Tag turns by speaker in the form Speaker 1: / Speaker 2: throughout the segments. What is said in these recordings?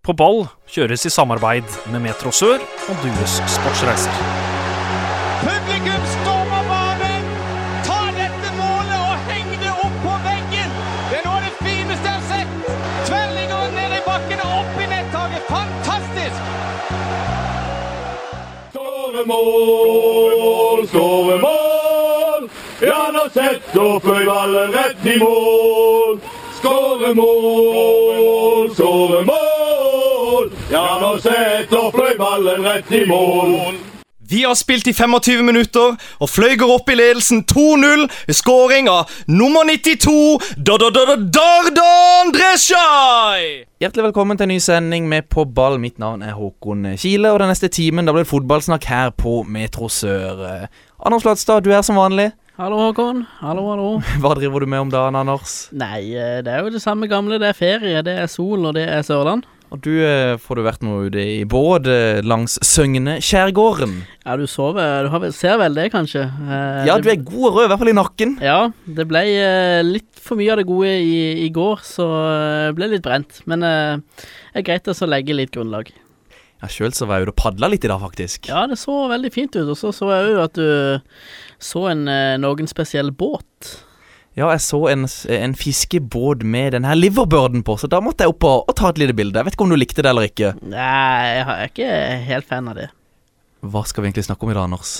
Speaker 1: På ball kjøres i samarbeid med Metro Sør og Dues Sportsreiser.
Speaker 2: Publikum stormer banen! Ta dette målet og heng det opp på veggen! Det er noe av det fineste jeg har sett! Tverrliggeren ned i bakken og opp i nettaket! Fantastisk!
Speaker 3: Skåre mål, skåre mål! Ja, nå setter Føyvallen rett i mål! Skåre mål, skåre mål! Ja, nå setter Føyvallen rett i mål!
Speaker 4: Vi har spilt i 25 minutter, og Fløy går opp i ledelsen 2-0 ved scoring av nummer 92, Dardan Dreshaj! Hjertelig velkommen til en ny sending med På ball. Mitt navn er Håkon Kile, og den neste timen da blir det fotballsnakk her på Metro Sør. Eh, Anders Flatstad, du er som vanlig.
Speaker 5: Hallo, Håkon. Hallo, hallo.
Speaker 4: Hva driver du med om dagen, Anders?
Speaker 5: Nei, eh, det er jo det samme gamle. Det er ferie, det er sol, og det er Sørland.
Speaker 4: Og du eh, får du vært noe ute i båt eh, langs Søgne-skjærgården.
Speaker 5: Ja, du sover. Du har, vel- ser vel det, kanskje? Eh,
Speaker 4: Ja,
Speaker 5: det-
Speaker 4: du er god og rød, i hvert fall i nakken.
Speaker 5: Ja, det ble eh, litt for mye av det gode i, i går, så eh, ble litt brent. Men eh, det er greit å så legge litt grunnlag.
Speaker 4: Ja, Sjøl så var jeg ute og padla litt i dag, faktisk.
Speaker 5: Ja, det så veldig fint ut, og så så jeg jo at du så en eh, noen spesiell båt.
Speaker 4: Ja, jeg så en, s- eh, en fiskebåt med den her liverbirden på, så da måtte jeg opp og, og ta et lite bilde. Jeg vet ikke om du likte det eller ikke.
Speaker 5: Nei, jeg har- jeg er ikke helt fan av det.
Speaker 4: Hva skal vi egentlig snakke om i dag, Anders?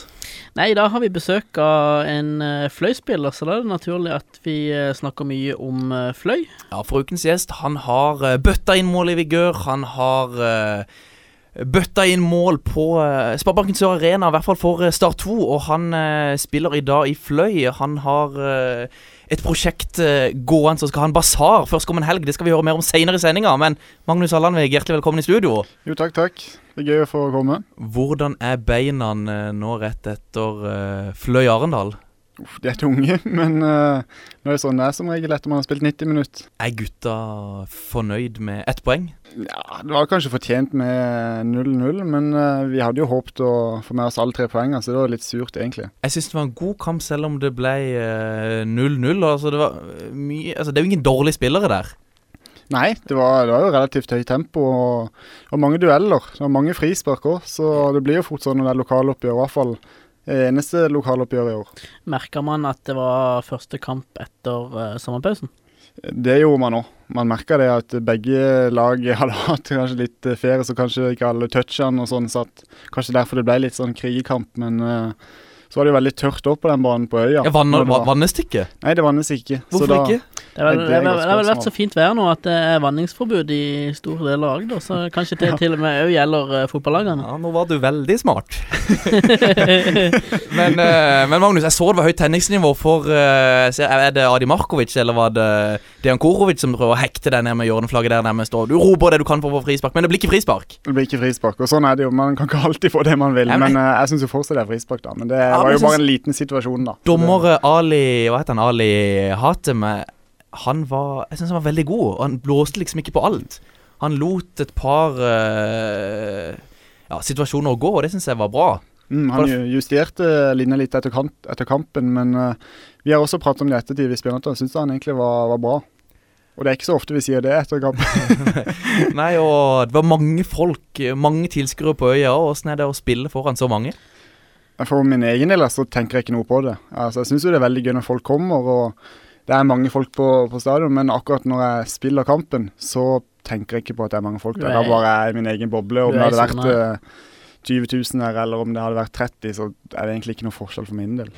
Speaker 5: Nei, da har vi besøk av en eh, fløyspiller, så da er det naturlig at vi eh, snakker mye om eh, fløy.
Speaker 4: Ja, for ukens gjest, han har eh, bøtta inn mål i vigør. Han har eh, bøtta inn mål på uh, Sparebanken Sør Arena, i hvert fall for eh, Start 2. Og han eh, spiller i dag i Fløy. Han har eh, et prosjekt eh, gående, så skal han basar førstkommende helg. Det skal vi høre mer om seinere i sendinga. Men Magnus Hallandvig, hjertelig velkommen i studio.
Speaker 6: Jo, takk, takk. Det er gøy å få komme.
Speaker 4: Hvordan er beina eh, nå rett etter eh, Fløy Arendal?
Speaker 6: Uff, De er tunge, men eh, nå er det sånn det er som regel etter man har spilt 90 minutter.
Speaker 4: Er gutta fornøyd med ett poeng?
Speaker 6: Ja, det var kanskje fortjent med 0-0, men eh, vi hadde jo håpet å få med oss alle tre poengene, så det var litt surt, egentlig.
Speaker 4: Jeg syns det var en god kamp, selv om det ble eh, 0-0. altså, det, var eh, mye- altså, det er jo ingen dårlige spillere der.
Speaker 6: Nei, det var, det var jo relativt høyt tempo og, og mange dueller. Det var mange frispark òg, så det blir jo fort sånn når det er lokaloppgjør, i hvert fall eh, eneste lokaloppgjør i år.
Speaker 5: Merka man at det var første kamp etter eh, sommerpausen?
Speaker 6: Det gjorde man òg. Man merka det at begge lag hadde hatt kanskje litt eh, ferie, så kanskje ikke alle touchene og sånn satt. Kanskje derfor det ble litt sånn krigekamp, men eh, så var det jo veldig tørt òg på den banen på øya.
Speaker 4: Ja, vanner,
Speaker 6: Når det var-
Speaker 4: vannes det ikke?
Speaker 6: Nei, det vannes ikke. Så
Speaker 4: Hvorfor
Speaker 6: da-
Speaker 4: ikke?
Speaker 5: Det har
Speaker 6: Nei,
Speaker 5: vel-
Speaker 6: det
Speaker 5: det
Speaker 6: er
Speaker 5: har
Speaker 6: et godt
Speaker 5: vel det har vel vært
Speaker 6: spørsmål.
Speaker 5: så fint vær nå at det er vanningsforbud i store deler av Agder, så kanskje det til og med òg gjelder eh, fotballagene.
Speaker 4: Ja, nå var du veldig smart. men, eh, men Magnus, jeg så det var høyt tenningsnivå for eh, ser- Er det Adi Markovic eller var det Dejan Korovic som prøver å hekte deg ned med hjørneflagget der nærmest? Og du roper det du kan for å få frispark, men det blir ikke frispark.
Speaker 6: Det blir ikke frispark. Og sånn er det jo. Man kan ikke alltid få det man vil.
Speaker 4: Nei, men-
Speaker 6: men eh, jeg syns jo fortsatt det er frispark, da. Men det
Speaker 4: Ja, men
Speaker 6: var
Speaker 4: jeg
Speaker 6: jo bare
Speaker 4: synes-
Speaker 6: en liten situasjon, da.
Speaker 4: Dommer eh, Ali Hva heter han? Ali Hatem eh, Han var Jeg syns han var veldig god, og han blåste liksom ikke på alt. Han lot et par eh, ja, situasjoner å gå, og det syns jeg var bra.
Speaker 6: Mm,
Speaker 4: Var
Speaker 6: han ju- justerte linja litt etter, kant, etter kampen, men eh, vi har også pratet om det i ettertid. Vi spillerne og syns han egentlig var, var bra. Og det er ikke så ofte vi sier det etter kampen.
Speaker 4: Nei, og det var mange folk, eh, mange tilskuere på øya. og Åssen er det å spille foran så mange?
Speaker 6: For min egen del så tenker jeg ikke noe på det. Altså, jeg syns jo det er veldig gøy når folk kommer, og det er mange folk på, på stadion, men akkurat når jeg spiller kampen, så tenker jeg ikke på at det er mange folk
Speaker 5: Du
Speaker 6: der.
Speaker 5: er-
Speaker 6: Da bare er jeg i min egen boble.
Speaker 5: Du er
Speaker 6: Om det hadde
Speaker 5: i sona.
Speaker 6: vært eh, 20 000 her, eller om det hadde vært 30, så er det egentlig ikke noe forskjell for min del.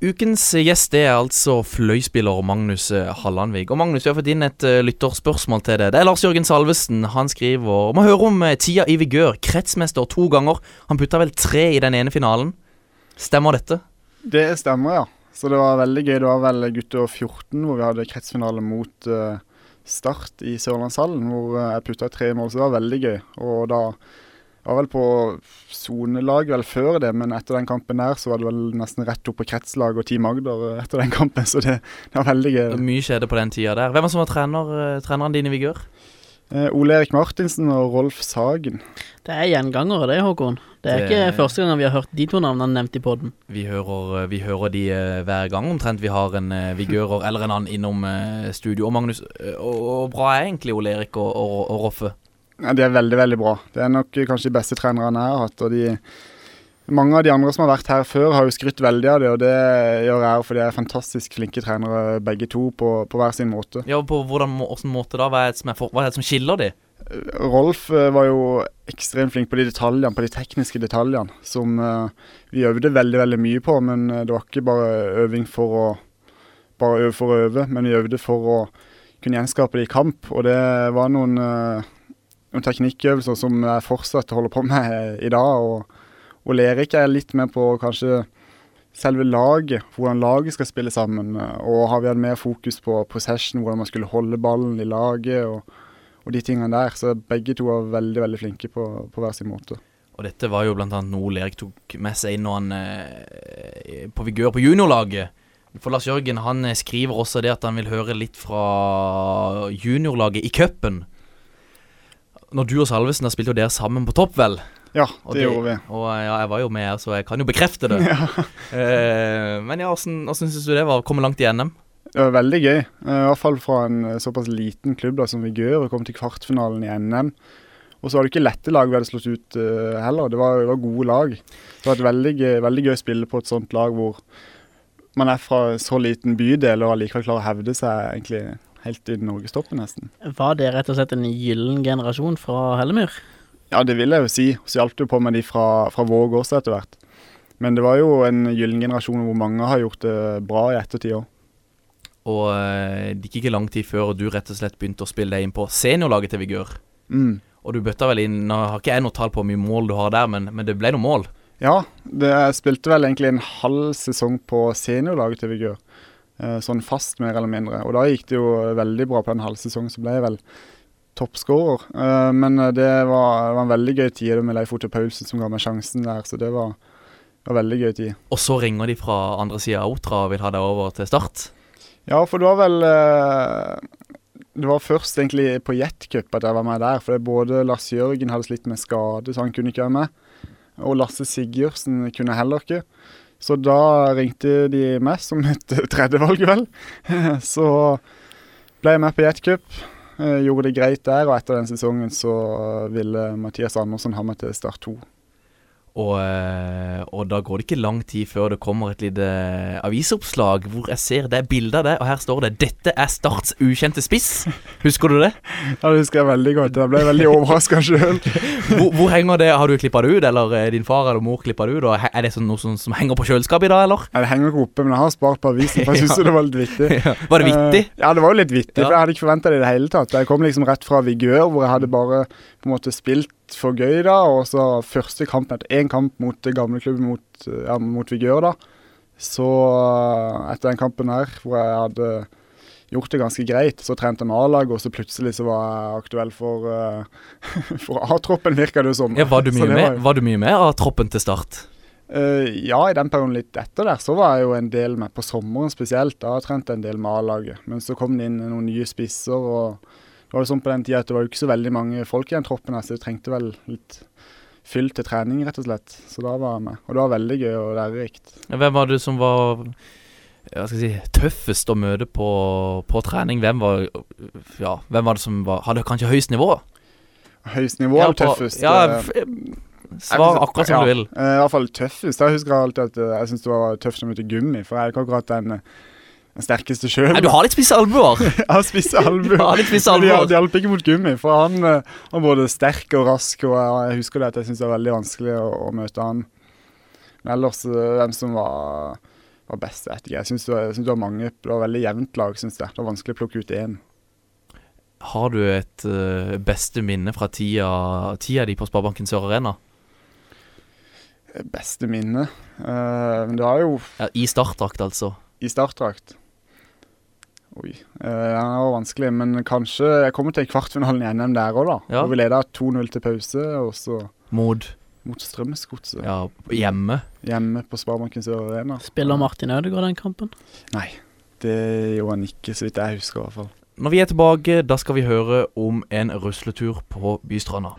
Speaker 4: Ukens gjest det er altså fløyspiller Magnus eh, Hallandvig. Og Magnus, vi har fått inn et eh, lytterspørsmål til det. Det er Lars Jørgen Salvesen. Han skriver om å høre om eh, tida i vigør. Kretsmester to ganger. Han putta vel tre i den ene finalen. Stemmer dette?
Speaker 6: Det stemmer, ja. Så det var veldig gøy. Det var vel gutter 14 hvor vi hadde kretsfinale mot eh, Start i Sørlandshallen, hvor eh, jeg putta tre mål, så det var veldig gøy. Og da jeg var vel på sonelag vel før det, men etter den kampen der så var det vel nesten rett opp på kretslag og Team Agder eh, etter den kampen, så det, det var veldig gøy.
Speaker 4: Mye skjedde på den tida der. Hvem var som var trener, eh, treneren din i vigør?
Speaker 6: Eh, Ole Erik Martinsen og Rolf Sagen.
Speaker 5: Det er gjengangere, det, Håkon. Det er
Speaker 4: Det-
Speaker 5: ikke første gangen vi har hørt de to navnene nevnt i poden.
Speaker 4: Vi hører, vi hører de eh, hver gang omtrent vi har en eh, vigører eller en annen innom eh, studio. Og Magnus, eh, og, og bra er egentlig Ole Erik og, og, og Roffe.
Speaker 6: Ja, de er veldig, veldig bra. Det er nok eh, kanskje de beste trenerne jeg har hatt. og de... Mange av de andre som har vært her før, har jo skrytt veldig av det, og det gjør jeg òg, for de er fantastisk flinke trenere begge to på, på hver sin måte.
Speaker 4: Ja, på hvordan, må- hvordan måte da? Hva er det som, er for, hva er det som skiller de?
Speaker 6: Rolf eh, var jo ekstremt flink på de detaljene, på de tekniske detaljene, som eh, vi øvde veldig veldig mye på. Men eh, det var ikke bare øving for å bare øve for å øve, men vi øvde for å kunne gjenskape det i kamp. Og det var noen, eh, noen teknikkøvelser som jeg fortsatt holder på med i dag. Og, og Lerik er litt mer på kanskje selve laget, hvordan laget skal spille sammen. eh, Og har vi hatt mer fokus på possession, hvordan man skulle holde ballen i laget. og og de tingene der. Så begge to var veldig veldig flinke på, på hver sin måte.
Speaker 4: Og dette var jo blant annet noe Ole Erik tok med seg inn når han eh, på vigør på juniorlaget. For Lars Jørgen han eh, skriver også det at han vil høre litt fra juniorlaget i cupen. Når du og Salvesen har spilt jo dere sammen på topp, vel?
Speaker 6: Ja,
Speaker 4: Og
Speaker 6: det, gjorde vi.
Speaker 4: Og eh, ja, jeg var jo med her, så jeg kan jo bekrefte det. Eh, men ja, åssen åssen syns du det var å komme langt i NM?
Speaker 6: Det var veldig gøy. eh, I hvert fall fra en eh, såpass liten klubb da, som Vigør, og kom til kvartfinalen i NM. Og så var det ikke lette lag vi hadde slått ut eh, heller. Det var, det var gode lag. Det var et veldig gøy, veldig gøy å spille på et sånt lag hvor man er fra så liten bydel og allikevel klarer å hevde seg egentlig helt i norgestoppen, nesten.
Speaker 5: Var det rett og slett en gyllen generasjon fra Hellemyr?
Speaker 6: Ja, det vil jeg jo si. Så hjalp det jo på med de fra, fra Våg også etter hvert. Men det var jo en gyllen generasjon hvor mange har gjort det bra i ettertid òg.
Speaker 4: Og eh, det gikk ikke lang tid før du rett og slett begynte å spille deg inn på seniorlaget til Vigør.
Speaker 6: Mm.
Speaker 4: Og du bøtta vel inn Nå har ikke jeg noe tall på hvor mye mål du har der, men, men det ble noen mål.
Speaker 6: Ja, det, jeg spilte vel egentlig en halv sesong på seniorlaget til Vigør. Eh, Sånn fast, mer eller mindre. Og da gikk det jo veldig bra på den halve sesongen, så ble jeg vel toppskårer. Eh, Men eh, det var, var en veldig gøy tid det med Leif Otto Paulsen som ga meg sjansen der, så det var, var veldig gøy tid.
Speaker 4: Og så ringer de fra andre sida av Otra og vil ha deg over til Start.
Speaker 6: Ja, for det var vel eh, Det var først egentlig på Jetcup at jeg var med der. For det er både Lars Jørgen hadde slitt med skade, så han kunne ikke være med. Og Lasse Sigurdsen kunne heller ikke. Så da ringte de meg, som mitt tredjevalg, vel. Så ble jeg med på Jetcup. eh, Gjorde det greit der, og etter den sesongen så eh, ville Mathias Andersen ha meg til Start 2.
Speaker 4: Og, eh, og da går det ikke lang tid før det kommer et lite avisoppslag hvor jeg ser det er bilde av deg, og her står det 'Dette er Starts ukjente spiss'. Husker du det?
Speaker 6: Ja, Det husker jeg veldig godt. Jeg ble veldig overraska sjøl.
Speaker 4: Hvor, hvor henger det? Har du klippa det ut, eller eh, din far eller mor klippa det ut? Og he- er det sånn noe som, som henger på kjøleskapet i dag, eller?
Speaker 6: Nei, Det henger ikke oppe, men jeg har spart på avisen, for jeg syns det var litt vittig.
Speaker 4: Var det vittig?
Speaker 6: Eh, ja, det var jo litt vittig,
Speaker 4: Ja.
Speaker 6: for jeg hadde ikke forventa det i det hele tatt. Jeg kom liksom rett fra Vigør, hvor jeg hadde bare på en måte spilt for gøy, da, og så første kampen etter én kamp mot det gamle klubben mot, eh, ja, mot Vigør, da. Så eh, etter den kampen her, hvor jeg hadde gjort det ganske greit, så trente jeg med A-laget, og så plutselig så var jeg aktuell for, eh, for A-troppen, virka det jo som.
Speaker 4: Ja, var du
Speaker 6: Så
Speaker 4: mye
Speaker 6: det
Speaker 4: med,
Speaker 6: var jo-
Speaker 4: var du mye med av troppen til Start?
Speaker 6: Eh, ja, i den perioden litt etter der, så var jeg jo en del med på sommeren spesielt. Da trente jeg en del med A-laget. Men så kom det inn noen nye spisser, og det var jo sånn på den tida at det var jo ikke så veldig mange folk i den troppen her, så jeg trengte vel litt fyll til trening, rett og slett. Så da var jeg med. Og det var veldig gøy og lærerikt.
Speaker 4: Hvem var det som var ja, skal jeg si, tøffest å møte på, på trening? Hvem var, ja, hvem var det som var, hadde kanskje høyest nivå?
Speaker 6: Høyest nivå er
Speaker 4: på-
Speaker 6: tøffest.
Speaker 4: Ja,
Speaker 6: eh,
Speaker 4: f- svar akkurat som
Speaker 6: ja,
Speaker 4: du vil.
Speaker 6: eh, I hvert fall tøffest. Jeg husker alltid at eh, jeg syntes det var tøft å møte gummi, for jeg er ikke akkurat den, eh, den sterkeste sjøl.
Speaker 4: Nei, du har litt spisse albuer.
Speaker 6: Jeg har spisse albuer.
Speaker 4: Du har litt spisse
Speaker 6: Men
Speaker 4: albuer.
Speaker 6: Det hjalp ikke mot gummi, for han eh, var både sterk og rask. Og jeg jeg husker det at jeg syntes det var veldig vanskelig å, å møte han. Men ellers, eh, hvem som var, var best, vet ikke. Jeg syns det, var- jeg synes det var mange. Det var veldig jevnt lag, syns jeg. Det var vanskelig å plukke ut én.
Speaker 4: Har du et eh, beste minne fra tida, tida di på Sparebanken Sør Arena?
Speaker 6: Beste minne Eh, Men det var jo
Speaker 4: Ja, I startdrakt, altså.
Speaker 6: i startdrakt. Oi. eh, Den var vanskelig, men kanskje Jeg kommer til kvartfinalen i NM der òg, da.
Speaker 4: Ja.
Speaker 6: Hvor vi leda 2-0 til pause, og så
Speaker 4: Mod.
Speaker 6: mot Strømsgodset.
Speaker 4: Ja, hjemme.
Speaker 6: Hjemme på Sparebanken Sør Arena.
Speaker 5: Spiller Martin Ødegaard den kampen?
Speaker 6: Nei, det gjorde han ikke, så vidt jeg husker i hvert fall.
Speaker 4: Når vi er tilbake, da skal vi høre om en rusletur på Bystranda.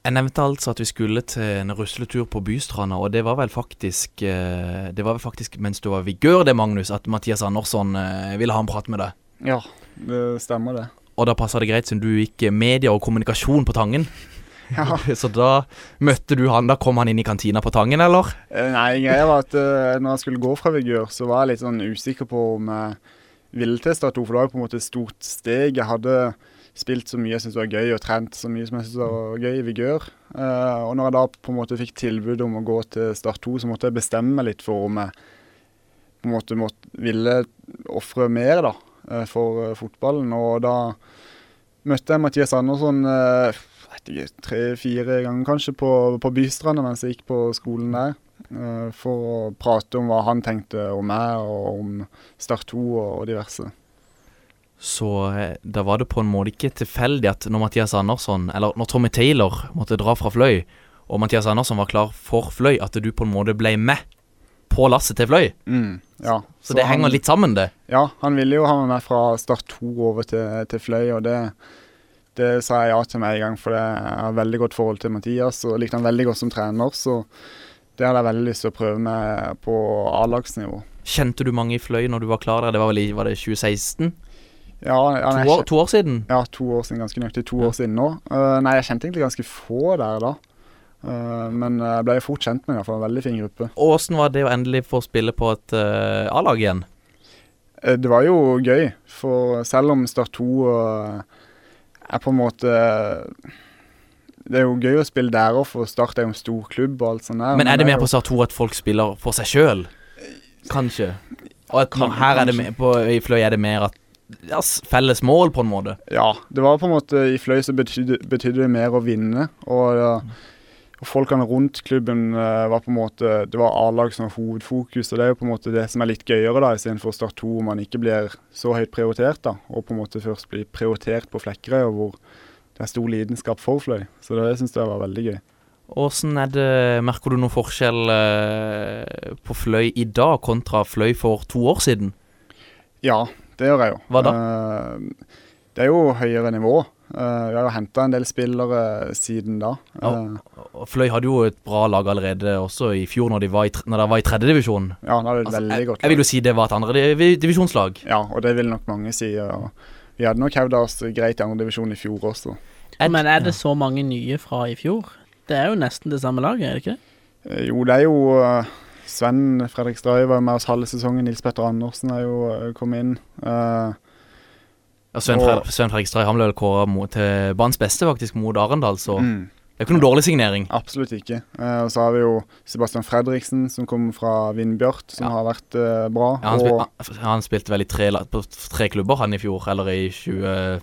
Speaker 4: Jeg nevnte altså at vi skulle til en rusletur på Bystranda, og det var vel faktisk eh, Det var vel faktisk mens du var vigør det, Magnus, at Mathias Andersson eh, ville ha en prat med deg.
Speaker 6: Ja, det stemmer det.
Speaker 4: Og da passa det greit, siden du gikk eh, media og kommunikasjon på Tangen.
Speaker 6: Ja.
Speaker 4: Så da møtte du han. Da kom han inn i kantina på Tangen, eller?
Speaker 6: Eh, Nei, greia var at eh, når jeg skulle gå fra Vigør, så var jeg litt sånn usikker på om jeg ville til Start 2, for det var jo på en måte et stort steg. Jeg hadde spilt så mye jeg syntes var gøy, og trent så mye som jeg syntes var gøy i Vigør. Eh, og når jeg da på en måte fikk tilbud om å gå til Start 2, så måtte jeg bestemme meg litt for om jeg på en måte måtte, ville ofre mer da, eh, for eh, fotballen. Og da møtte jeg Mathias Andersson eh, tre-fire ganger kanskje på, på Bystranda mens jeg gikk på skolen der. eh, For å prate om hva han tenkte om meg og om Start 2 og, og diverse.
Speaker 4: Så eh, da var det på en måte ikke tilfeldig at når Mathias Andersson, eller når Tommy Taylor måtte dra fra Fløy, og Mathias Andersson var klar for Fløy, at du på en måte ble med på lasset til Fløy.
Speaker 6: Mm, ja.
Speaker 4: Så, det henger
Speaker 6: han,
Speaker 4: litt sammen, det.
Speaker 6: Ja, han ville jo ha meg med fra Start 2 over til, til Fløy, og det, det sa jeg ja til med en gang, for det- jeg har veldig godt forhold til Mathias og likte han veldig godt som trener, så det hadde jeg veldig lyst til å prøve meg på A-lagsnivå.
Speaker 4: Kjente du mange i Fløy når du var klar der? Det var vel i var det 2016?
Speaker 6: Ja, han er
Speaker 4: To
Speaker 6: ikke-
Speaker 4: år, to år siden?
Speaker 6: Ja, to år siden, ganske nøyaktig to
Speaker 4: Ja.
Speaker 6: år siden nå. Eh, nei, jeg kjente egentlig ganske få der da. Eh, men jeg ble jo fort kjent med dem, for en veldig fin gruppe.
Speaker 4: Og åssen var det å endelig få spille på et eh, A-lag igjen?
Speaker 6: Eh, det var jo gøy, for selv om Start 2 eh, er på en måte Det er jo gøy å spille der òg, for Start er jo en stor klubb og alt sånt der.
Speaker 4: Men er det mer
Speaker 6: jo-
Speaker 4: på Start 2 at folk spiller for seg sjøl? Kanskje. Og at man, her er det mer på, i Fløy er det mer at ja, s- felles mål, på en måte.
Speaker 6: Ja, det var på en måte I Fløy så betydde, betydde det mer å vinne. Og, eh, og folkene rundt klubben eh, var på en måte Det var A-lag som var hovedfokus, og det er jo på en måte det som er litt gøyere, da, istedenfor Start 2, hvor man ikke blir så høyt prioritert, da. Og på en måte først blir prioritert på Flekkerøy, og hvor det er stor lidenskap for Fløy. Så det syns jeg var veldig gøy.
Speaker 4: Åssen er det Merker du noen forskjell eh, på Fløy i dag kontra Fløy for to år siden?
Speaker 6: Ja, det gjør jeg jo.
Speaker 4: Hva da?
Speaker 6: Eh, det er jo høyere nivå. Eh, vi har jo henta en del spillere siden da.
Speaker 4: Ja.
Speaker 6: Eh,
Speaker 4: Og Fløy hadde jo et bra lag allerede også i fjor, når de var i, tre- når de var i tredjedivisjon.
Speaker 6: ja, da er det et
Speaker 4: Altså,
Speaker 6: veldig
Speaker 4: jeg,
Speaker 6: godt.
Speaker 4: jeg vil jo si det var et andredivisjonslag.
Speaker 6: Ja, og det vil nok mange si. og Vi hadde nok hevda oss greit i andredivisjon i fjor også.
Speaker 5: Men er det så mange nye fra i fjor? Det er jo nesten det samme laget, er det ikke det?
Speaker 6: Eh, Jo, det er jo eh, Sven Fredrik Stray var jo med oss halve sesongen. Nils Petter Andersen er jo eh, kommet inn. Eh,
Speaker 4: Ja, Svein,
Speaker 6: Og-
Speaker 4: Fre Svein Fredrikstad han ble vel kåra til banens beste, faktisk, mot Arendal, så
Speaker 6: mm,
Speaker 4: det er ikke noen dårlig signering.
Speaker 6: absolutt ikke. Eh, og så har vi jo Sebastian Fredriksen, som kom fra Vindbjart, som
Speaker 4: Ja.
Speaker 6: har vært eh, bra.
Speaker 4: Ja, han, spil,
Speaker 6: og,
Speaker 4: han, han spilte vel i tre, la- på tre klubber han i fjor, eller i 20...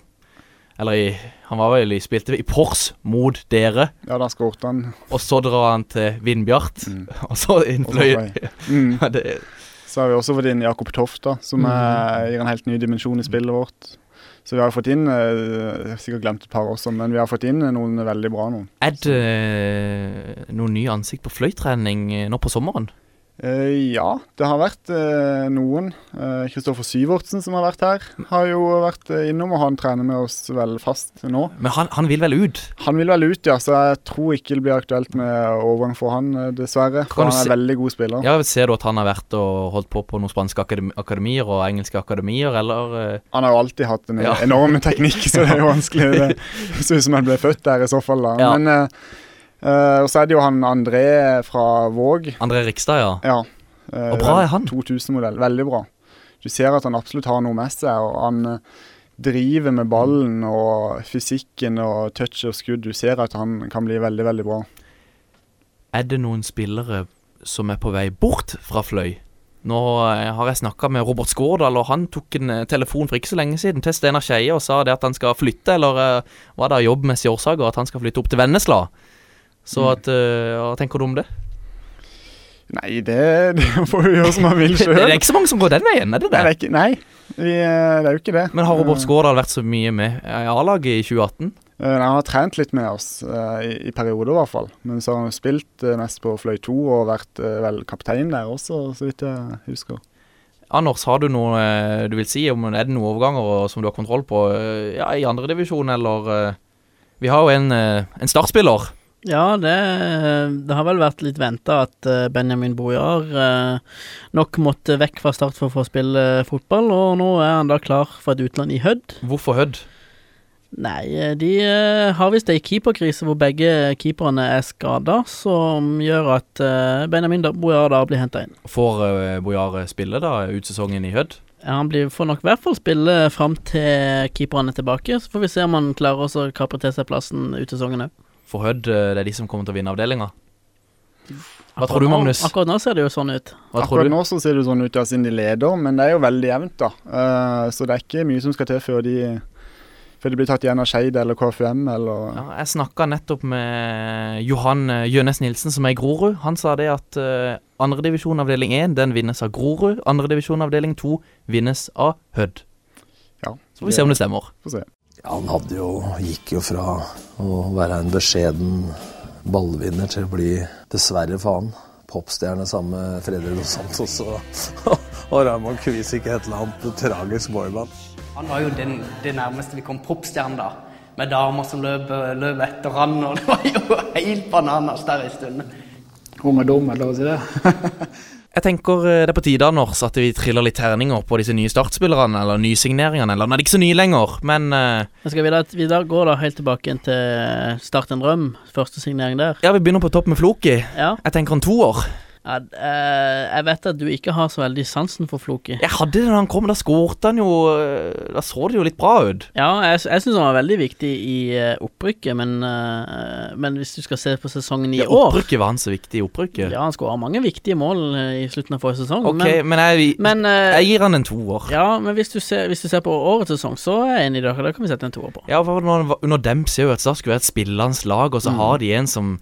Speaker 4: Eller i Han var vel i, spilte i Pors mot dere,
Speaker 6: ja, da skåret han.
Speaker 4: og så drar han til Vindbjart,
Speaker 6: Mm.
Speaker 4: og så
Speaker 6: Og så,
Speaker 4: innfløy
Speaker 6: mm.
Speaker 4: ja, det-
Speaker 6: så har vi også fått inn Jakob Toft, da, som eh, gir en helt ny dimensjon i spillet vårt. Så vi har fått inn eh, Jeg har sikkert glemt et par også, men vi har fått inn noen veldig bra nå.
Speaker 4: Er det eh, noen nye ansikt på fløytrening eh, nå på sommeren?
Speaker 6: Eh, ja, det har vært eh, noen. Eh, Kristoffer Syvertsen som har vært her, har jo vært eh, innom, og han trener med oss vel fast nå.
Speaker 4: Men han, han vil vel ut?
Speaker 6: Han vil vel ut, ja, så jeg tror ikke det blir aktuelt med overgang for han, eh, dessverre.
Speaker 4: Kan du
Speaker 6: For han er
Speaker 4: se-
Speaker 6: veldig god spiller.
Speaker 4: Ja, Ser du at han har vært og holdt på på noen spanske akademi akademier og engelske akademier, eller eh,
Speaker 6: Han har jo alltid hatt en
Speaker 4: Ja.
Speaker 6: enorm teknikk, så det er jo vanskelig. Det ser ut som han ble født der i så fall, da.
Speaker 4: Ja.
Speaker 6: Men eh, eh, og så er det jo han André fra Våg.
Speaker 4: André Rikstad, ja.
Speaker 6: Ja. eh,
Speaker 4: Og bra er
Speaker 6: vel-
Speaker 4: han.
Speaker 6: 2000-modell. Veldig bra. Du ser at han absolutt har noe med seg, og han eh, driver med ballen og fysikken og touch og skudd. Du ser at han kan bli veldig, veldig bra.
Speaker 4: Er det noen spillere som er på vei bort fra Fløy? Nå eh, har jeg snakka med Robert Skårdal, og han tok en eh, telefon for ikke så lenge siden til Steinar Skeie og sa det at han skal flytte, eller eh, var det av Mm. jobbmessige årsaker, at han skal flytte opp til Vennesla. Så at, eh, hva tenker du om det?
Speaker 6: Nei, det, det får du gjøre som man vil
Speaker 4: Det er
Speaker 6: sjøl.
Speaker 4: ikke så mange som går den veien, er Mm. det det?
Speaker 6: Nei, vi, eh, det er jo ikke det.
Speaker 4: Men har Robert Skårdal vært så mye med i A-laget i 2018?
Speaker 6: Eh, Nei, han har trent litt med oss, eh, i, i perioder i hvert fall. Men så har han jo spilt eh, mest på Fløy 2 og vært eh, vel kaptein der også, så vidt jeg husker.
Speaker 4: Anders, har du noe eh, du vil si om er det noen overganger og- som du har kontroll på eh, ja, i andredivisjon, eller eh, Vi har jo en, eh, en startspiller.
Speaker 5: Ja, det, det har vel vært litt venta at eh, Benjamin Bojar eh, nok måtte vekk fra start for å få spille eh, fotball, og nå er han da klar for et utland i Hødd.
Speaker 4: Hvorfor Hødd?
Speaker 5: Nei, eh, de eh, har visst ei keeperkrise hvor begge keeperne er skada, som gjør at eh, Benjamin da- Bojar da blir henta inn.
Speaker 4: Får eh, Bojar spille da ut sesongen i Hødd?
Speaker 5: Ja, Han blir, får nok i hvert fall spille fram til keeperne er tilbake, så får vi se om han klarer også å kapre til seg plassen ut sesongen òg.
Speaker 4: For Hødd eh, det er de som kommer til å vinne avdelinga. Hva tror du, Magnus?
Speaker 5: Akkurat nå ser det jo sånn ut.
Speaker 4: Hva tror
Speaker 6: Akkurat
Speaker 4: du?
Speaker 6: nå så ser det sånn ut, ja, siden de leder, men det er jo veldig jevnt, da. Eh, så det er ikke mye som skal til før de, før de blir tatt igjen av Skeid eller KFUM eller
Speaker 4: Ja, jeg snakka nettopp med Johan eh, Gjønnes Nilsen, som er i Grorud. Han sa det at eh, andredivisjon avdeling 1 den vinnes av Grorud. Andredivisjon avdeling 2 vinnes av Hødd.
Speaker 6: Ja,
Speaker 4: Så får vi se om det stemmer.
Speaker 6: Få se.
Speaker 7: Ja, Han hadde jo, gikk jo fra å være en beskjeden ballvinner til å bli, dessverre for han, popstjerne sammen med Fredrik Dos Santos og, og Raymond Kvisik, et eller annet tragisk boyband.
Speaker 8: Han var jo den, det nærmeste vi kom popstjerne, da. Med damer som løp, løp etter han, og det var jo helt bananas der en stund.
Speaker 9: Ung og dum, eller hva sier det?
Speaker 4: Jeg tenker eh, det er på tide Anders, at vi triller litt terninger på disse nye startspillerne, eller nysigneringene. Eller nå er de ikke så nye lenger, men eh,
Speaker 5: Men skal vi da, vi da går da helt tilbake inn til eh, Start en drøm, første signering der.
Speaker 4: ja, vi begynner på topp med Floki.
Speaker 5: Ja.
Speaker 4: Jeg tenker en toer.
Speaker 5: ja d- eh, jeg vet at du ikke har så veldig sansen for Floki.
Speaker 4: Jeg hadde det da han kom, da skårte han jo eh, Da så det jo litt bra ut.
Speaker 5: Ja, jeg, jeg syns han var veldig viktig i eh, opprykket, men, eh, men hvis du skal se på sesongen i
Speaker 4: Ja,
Speaker 5: år
Speaker 4: Opprykket var han så viktig i opprykket.
Speaker 5: Ja, han skåra mange viktige mål eh, i slutten av forrige sesong,
Speaker 4: Ok, men, jeg,
Speaker 5: men, men eh,
Speaker 4: jeg gir han en toer.
Speaker 5: Ja, men hvis du, ser, hvis du ser på årets sesong, så er jeg enig i dere. Da kan vi sette en toer på.
Speaker 4: Ja, for når, når Dempsey og Ødstad skulle være et spillende lag,
Speaker 5: Mm.
Speaker 4: og så har de en som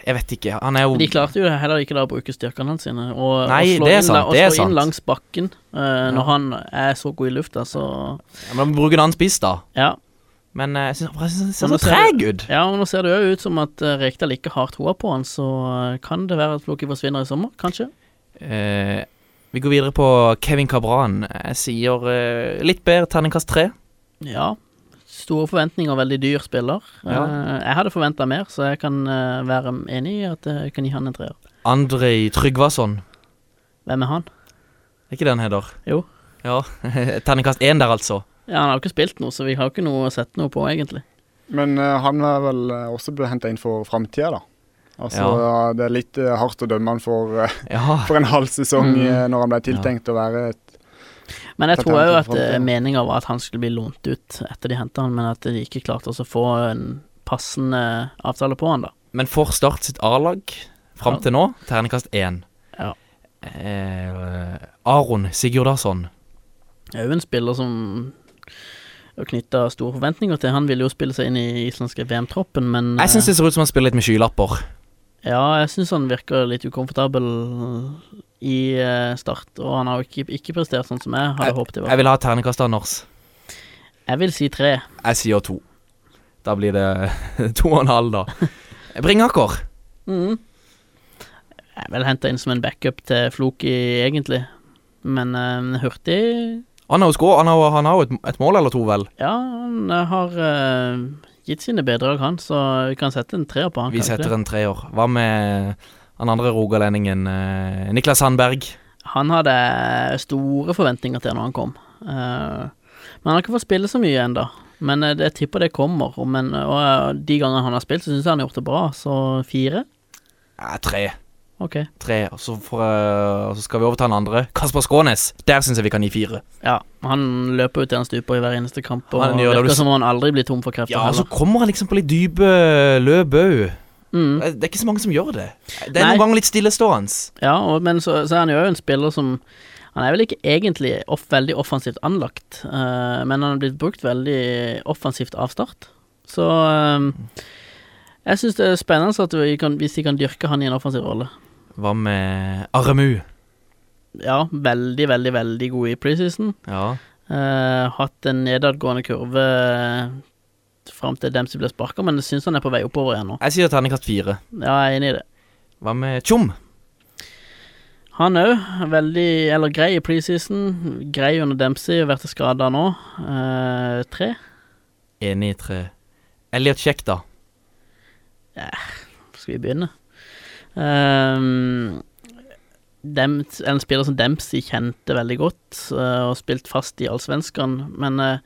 Speaker 4: Jeg vet ikke. Han er jo
Speaker 5: De klarte jo heller ikke da å bruke styrkene hans sine og,
Speaker 4: Nei,
Speaker 5: og slå,
Speaker 4: det er
Speaker 5: inn,
Speaker 4: sant,
Speaker 5: og
Speaker 4: det er
Speaker 5: slå
Speaker 4: sant.
Speaker 5: inn langs bakken eh, når han er så god i lufta, så
Speaker 4: Ja, Men bruker en annen spiss, da.
Speaker 5: Ja.
Speaker 4: Men eh, jeg syns han ser
Speaker 5: Men nå
Speaker 4: så
Speaker 5: ser
Speaker 4: treg
Speaker 5: det-
Speaker 4: ut.
Speaker 5: ja men nå ser det jo ut som at eh, Rekdal ikke har troa på han, så eh, kan det være at Floki forsvinner i sommer, kanskje?
Speaker 4: Eh, vi går videre på Kevin Cabran. Jeg sier eh, litt bedre terningkast tre.
Speaker 5: Ja. Store forventninger, veldig dyr spiller.
Speaker 4: Ja.
Speaker 5: Eh, jeg hadde forventa mer, så jeg kan eh, være enig i at eh, jeg kan gi han en treer.
Speaker 4: Andrej Tryggvason.
Speaker 5: Hvem er han?
Speaker 4: Er ikke det han heter?
Speaker 5: Jo.
Speaker 4: Ja. terningkast én der, altså.
Speaker 5: Ja, Han har jo ikke spilt noe, så vi har ikke noe å sette noe på, egentlig.
Speaker 6: Men eh, han er vel eh, også henta inn for framtida, da. Altså,
Speaker 4: Ja.
Speaker 6: Det er litt eh, hardt å dømme han for, eh,
Speaker 4: Ja.
Speaker 6: for en halv sesong
Speaker 4: Mm.
Speaker 6: eh, når han ble tiltenkt å være et
Speaker 5: Men jeg
Speaker 6: Tatt
Speaker 5: tror
Speaker 6: han
Speaker 5: jo
Speaker 6: til
Speaker 5: at
Speaker 6: fronten.
Speaker 5: eh, meninga var at han skulle bli lånt ut etter de henta han, men at de ikke klarte også å få en passende avtale på han, da.
Speaker 4: Men for Start sitt A-lag fram
Speaker 5: Ja.
Speaker 4: til nå, terningkast én.
Speaker 5: Ja.
Speaker 4: Eh, Aron Sigurdarsson.
Speaker 5: Det er jo en spiller som er knytta store forventninger til. Han ville jo spille seg inn i islandske VM-troppen, men
Speaker 4: Jeg syns det ser ut som han spiller litt med skylapper.
Speaker 5: eh, Ja, jeg syns han virker litt ukomfortabel i eh, start, og han har jo ikke, ikke prestert sånn som jeg hadde håpet. det
Speaker 4: Jeg
Speaker 5: var.
Speaker 4: vil ha ternekast Anders.
Speaker 5: Jeg vil si tre.
Speaker 4: Jeg sier to. Da blir det to og en halv, da. Bringaker.
Speaker 5: Mm. Jeg vil hente inn som en backup til Floki, egentlig, men eh, hurtig
Speaker 4: Han har jo skå, han har jo- han har jo et, et mål eller to, vel.
Speaker 5: Ja, han eh, har eh, gitt sine bidrag, han, så vi kan sette en treer på han.
Speaker 4: Vi
Speaker 5: kan vi ikke
Speaker 4: setter
Speaker 5: det?
Speaker 4: en treer. Hva med han andre rogalendingen eh, Niklas Sandberg?
Speaker 5: Han hadde eh, store forventninger til når han kom. Eh, men han har ikke fått spille så mye ennå. Men eh, det- jeg tipper det kommer. og Men, og eh, de gangene han har spilt, så syns jeg han har gjort det bra. Så fire?
Speaker 4: Eh, tre.
Speaker 5: Ok.
Speaker 4: Tre. Og så, får, eh, og så skal vi over til han andre. Kasper Skånes. Der syns jeg vi kan gi fire.
Speaker 5: Ja, han løper jo til han stuper i hver eneste kamp, og
Speaker 4: Han gjør det,
Speaker 5: virker
Speaker 4: du s-
Speaker 5: som om han aldri blir tom for krefter.
Speaker 4: Ja, og så
Speaker 5: heller.
Speaker 4: kommer han liksom på litt dype eh, løp òg.
Speaker 5: Mm.
Speaker 4: Det er ikke så mange som gjør det. Det er
Speaker 5: Nei.
Speaker 4: noen ganger litt stillestående.
Speaker 5: Ja, og, men så, så er han jo en spiller som Han er vel ikke egentlig off, veldig offensivt anlagt, eh, men han er blitt brukt veldig offensivt av start. Så eh, jeg syns det er spennende at vi kan, hvis de kan dyrke han i en offensiv rolle.
Speaker 4: Hva med Aremu?
Speaker 5: Ja, veldig, veldig, veldig god i preseason.
Speaker 4: Ja.
Speaker 5: Eh, hatt en nedadgående kurve fram til Dempsey ble sparka, men jeg syns han er på vei oppover igjen nå.
Speaker 4: Jeg sier terningkast fire.
Speaker 5: Ja, jeg er enig i det.
Speaker 4: Hva med Tjom?
Speaker 5: Han òg, veldig Eller grei i preseason. Grei under Dempsey, vært skada nå. Eh, tre.
Speaker 4: Enig i tre. Elliot Kjekk, da.
Speaker 5: Skal vi begynne? Um, dem, en spiller som Dempsey kjente veldig godt, eh, og spilt fast i allsvenskan, men eh,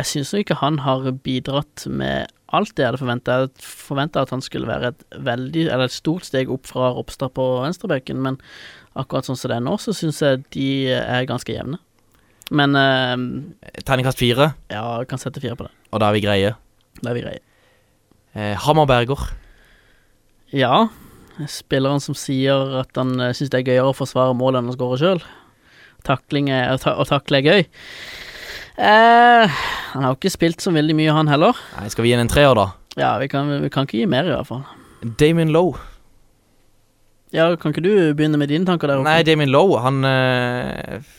Speaker 5: jeg syns jo ikke han har bidratt med alt det jeg hadde forventa. Jeg forventa at han skulle være et veldig, eller et stort steg opp fra Ropstad på venstrebekken, men akkurat sånn som det er nå, så syns jeg de er ganske jevne. Men eh,
Speaker 4: Terningkast fire,
Speaker 5: ja, jeg kan sette fire på det.
Speaker 4: og da er vi greie.
Speaker 5: Det er vi greie.
Speaker 4: Eh, Hammer Berger.
Speaker 5: Ja. Spilleren som sier at han eh, syns det er gøyere å forsvare mål enn å skåre sjøl. Takling er, å, ta, å takle er gøy. Eh, han har jo ikke spilt så veldig mye, han heller.
Speaker 4: Nei, skal vi gi han en treer, da?
Speaker 5: Ja, vi kan, vi kan ikke gi mer, i hvert fall.
Speaker 4: Damien Lowe.
Speaker 5: Ja, Kan ikke du begynne med dine tanker der? Håkon?
Speaker 4: Nei, Damien Lowe, han eh,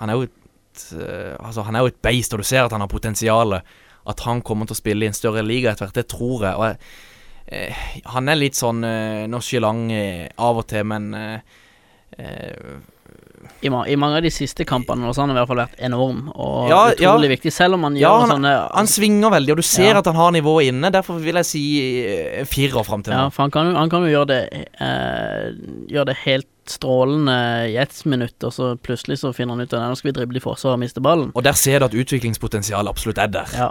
Speaker 4: Han er jo et eh, Altså, han er jo et beist, og du ser at han har potensialet. At han kommer til å spille i en større liga etter hvert, det tror jeg. Og jeg eh, han er litt sånn uh, nonchalant eh, av og til, men eh, eh,
Speaker 5: I, ma I mange av de siste kampene og så har han i hvert fall vært enorm og
Speaker 4: Ja,
Speaker 5: utrolig
Speaker 4: ja.
Speaker 5: viktig, selv om han
Speaker 4: Ja,
Speaker 5: gjør
Speaker 4: han-
Speaker 5: sånne
Speaker 4: Han svinger veldig, og du ser
Speaker 5: Ja.
Speaker 4: at han har nivået inne. Derfor vil jeg si eh, firer fram til
Speaker 5: Ja,
Speaker 4: nå.
Speaker 5: for han kan, jo- han kan jo gjøre det, eh, gjøre det helt strålende i ett minutt, og så plutselig så finner han ut at "Nei, nå skal vi drible i forsvar og miste ballen.
Speaker 4: Og der ser du at utviklingspotensialet absolutt er der.
Speaker 5: Ja.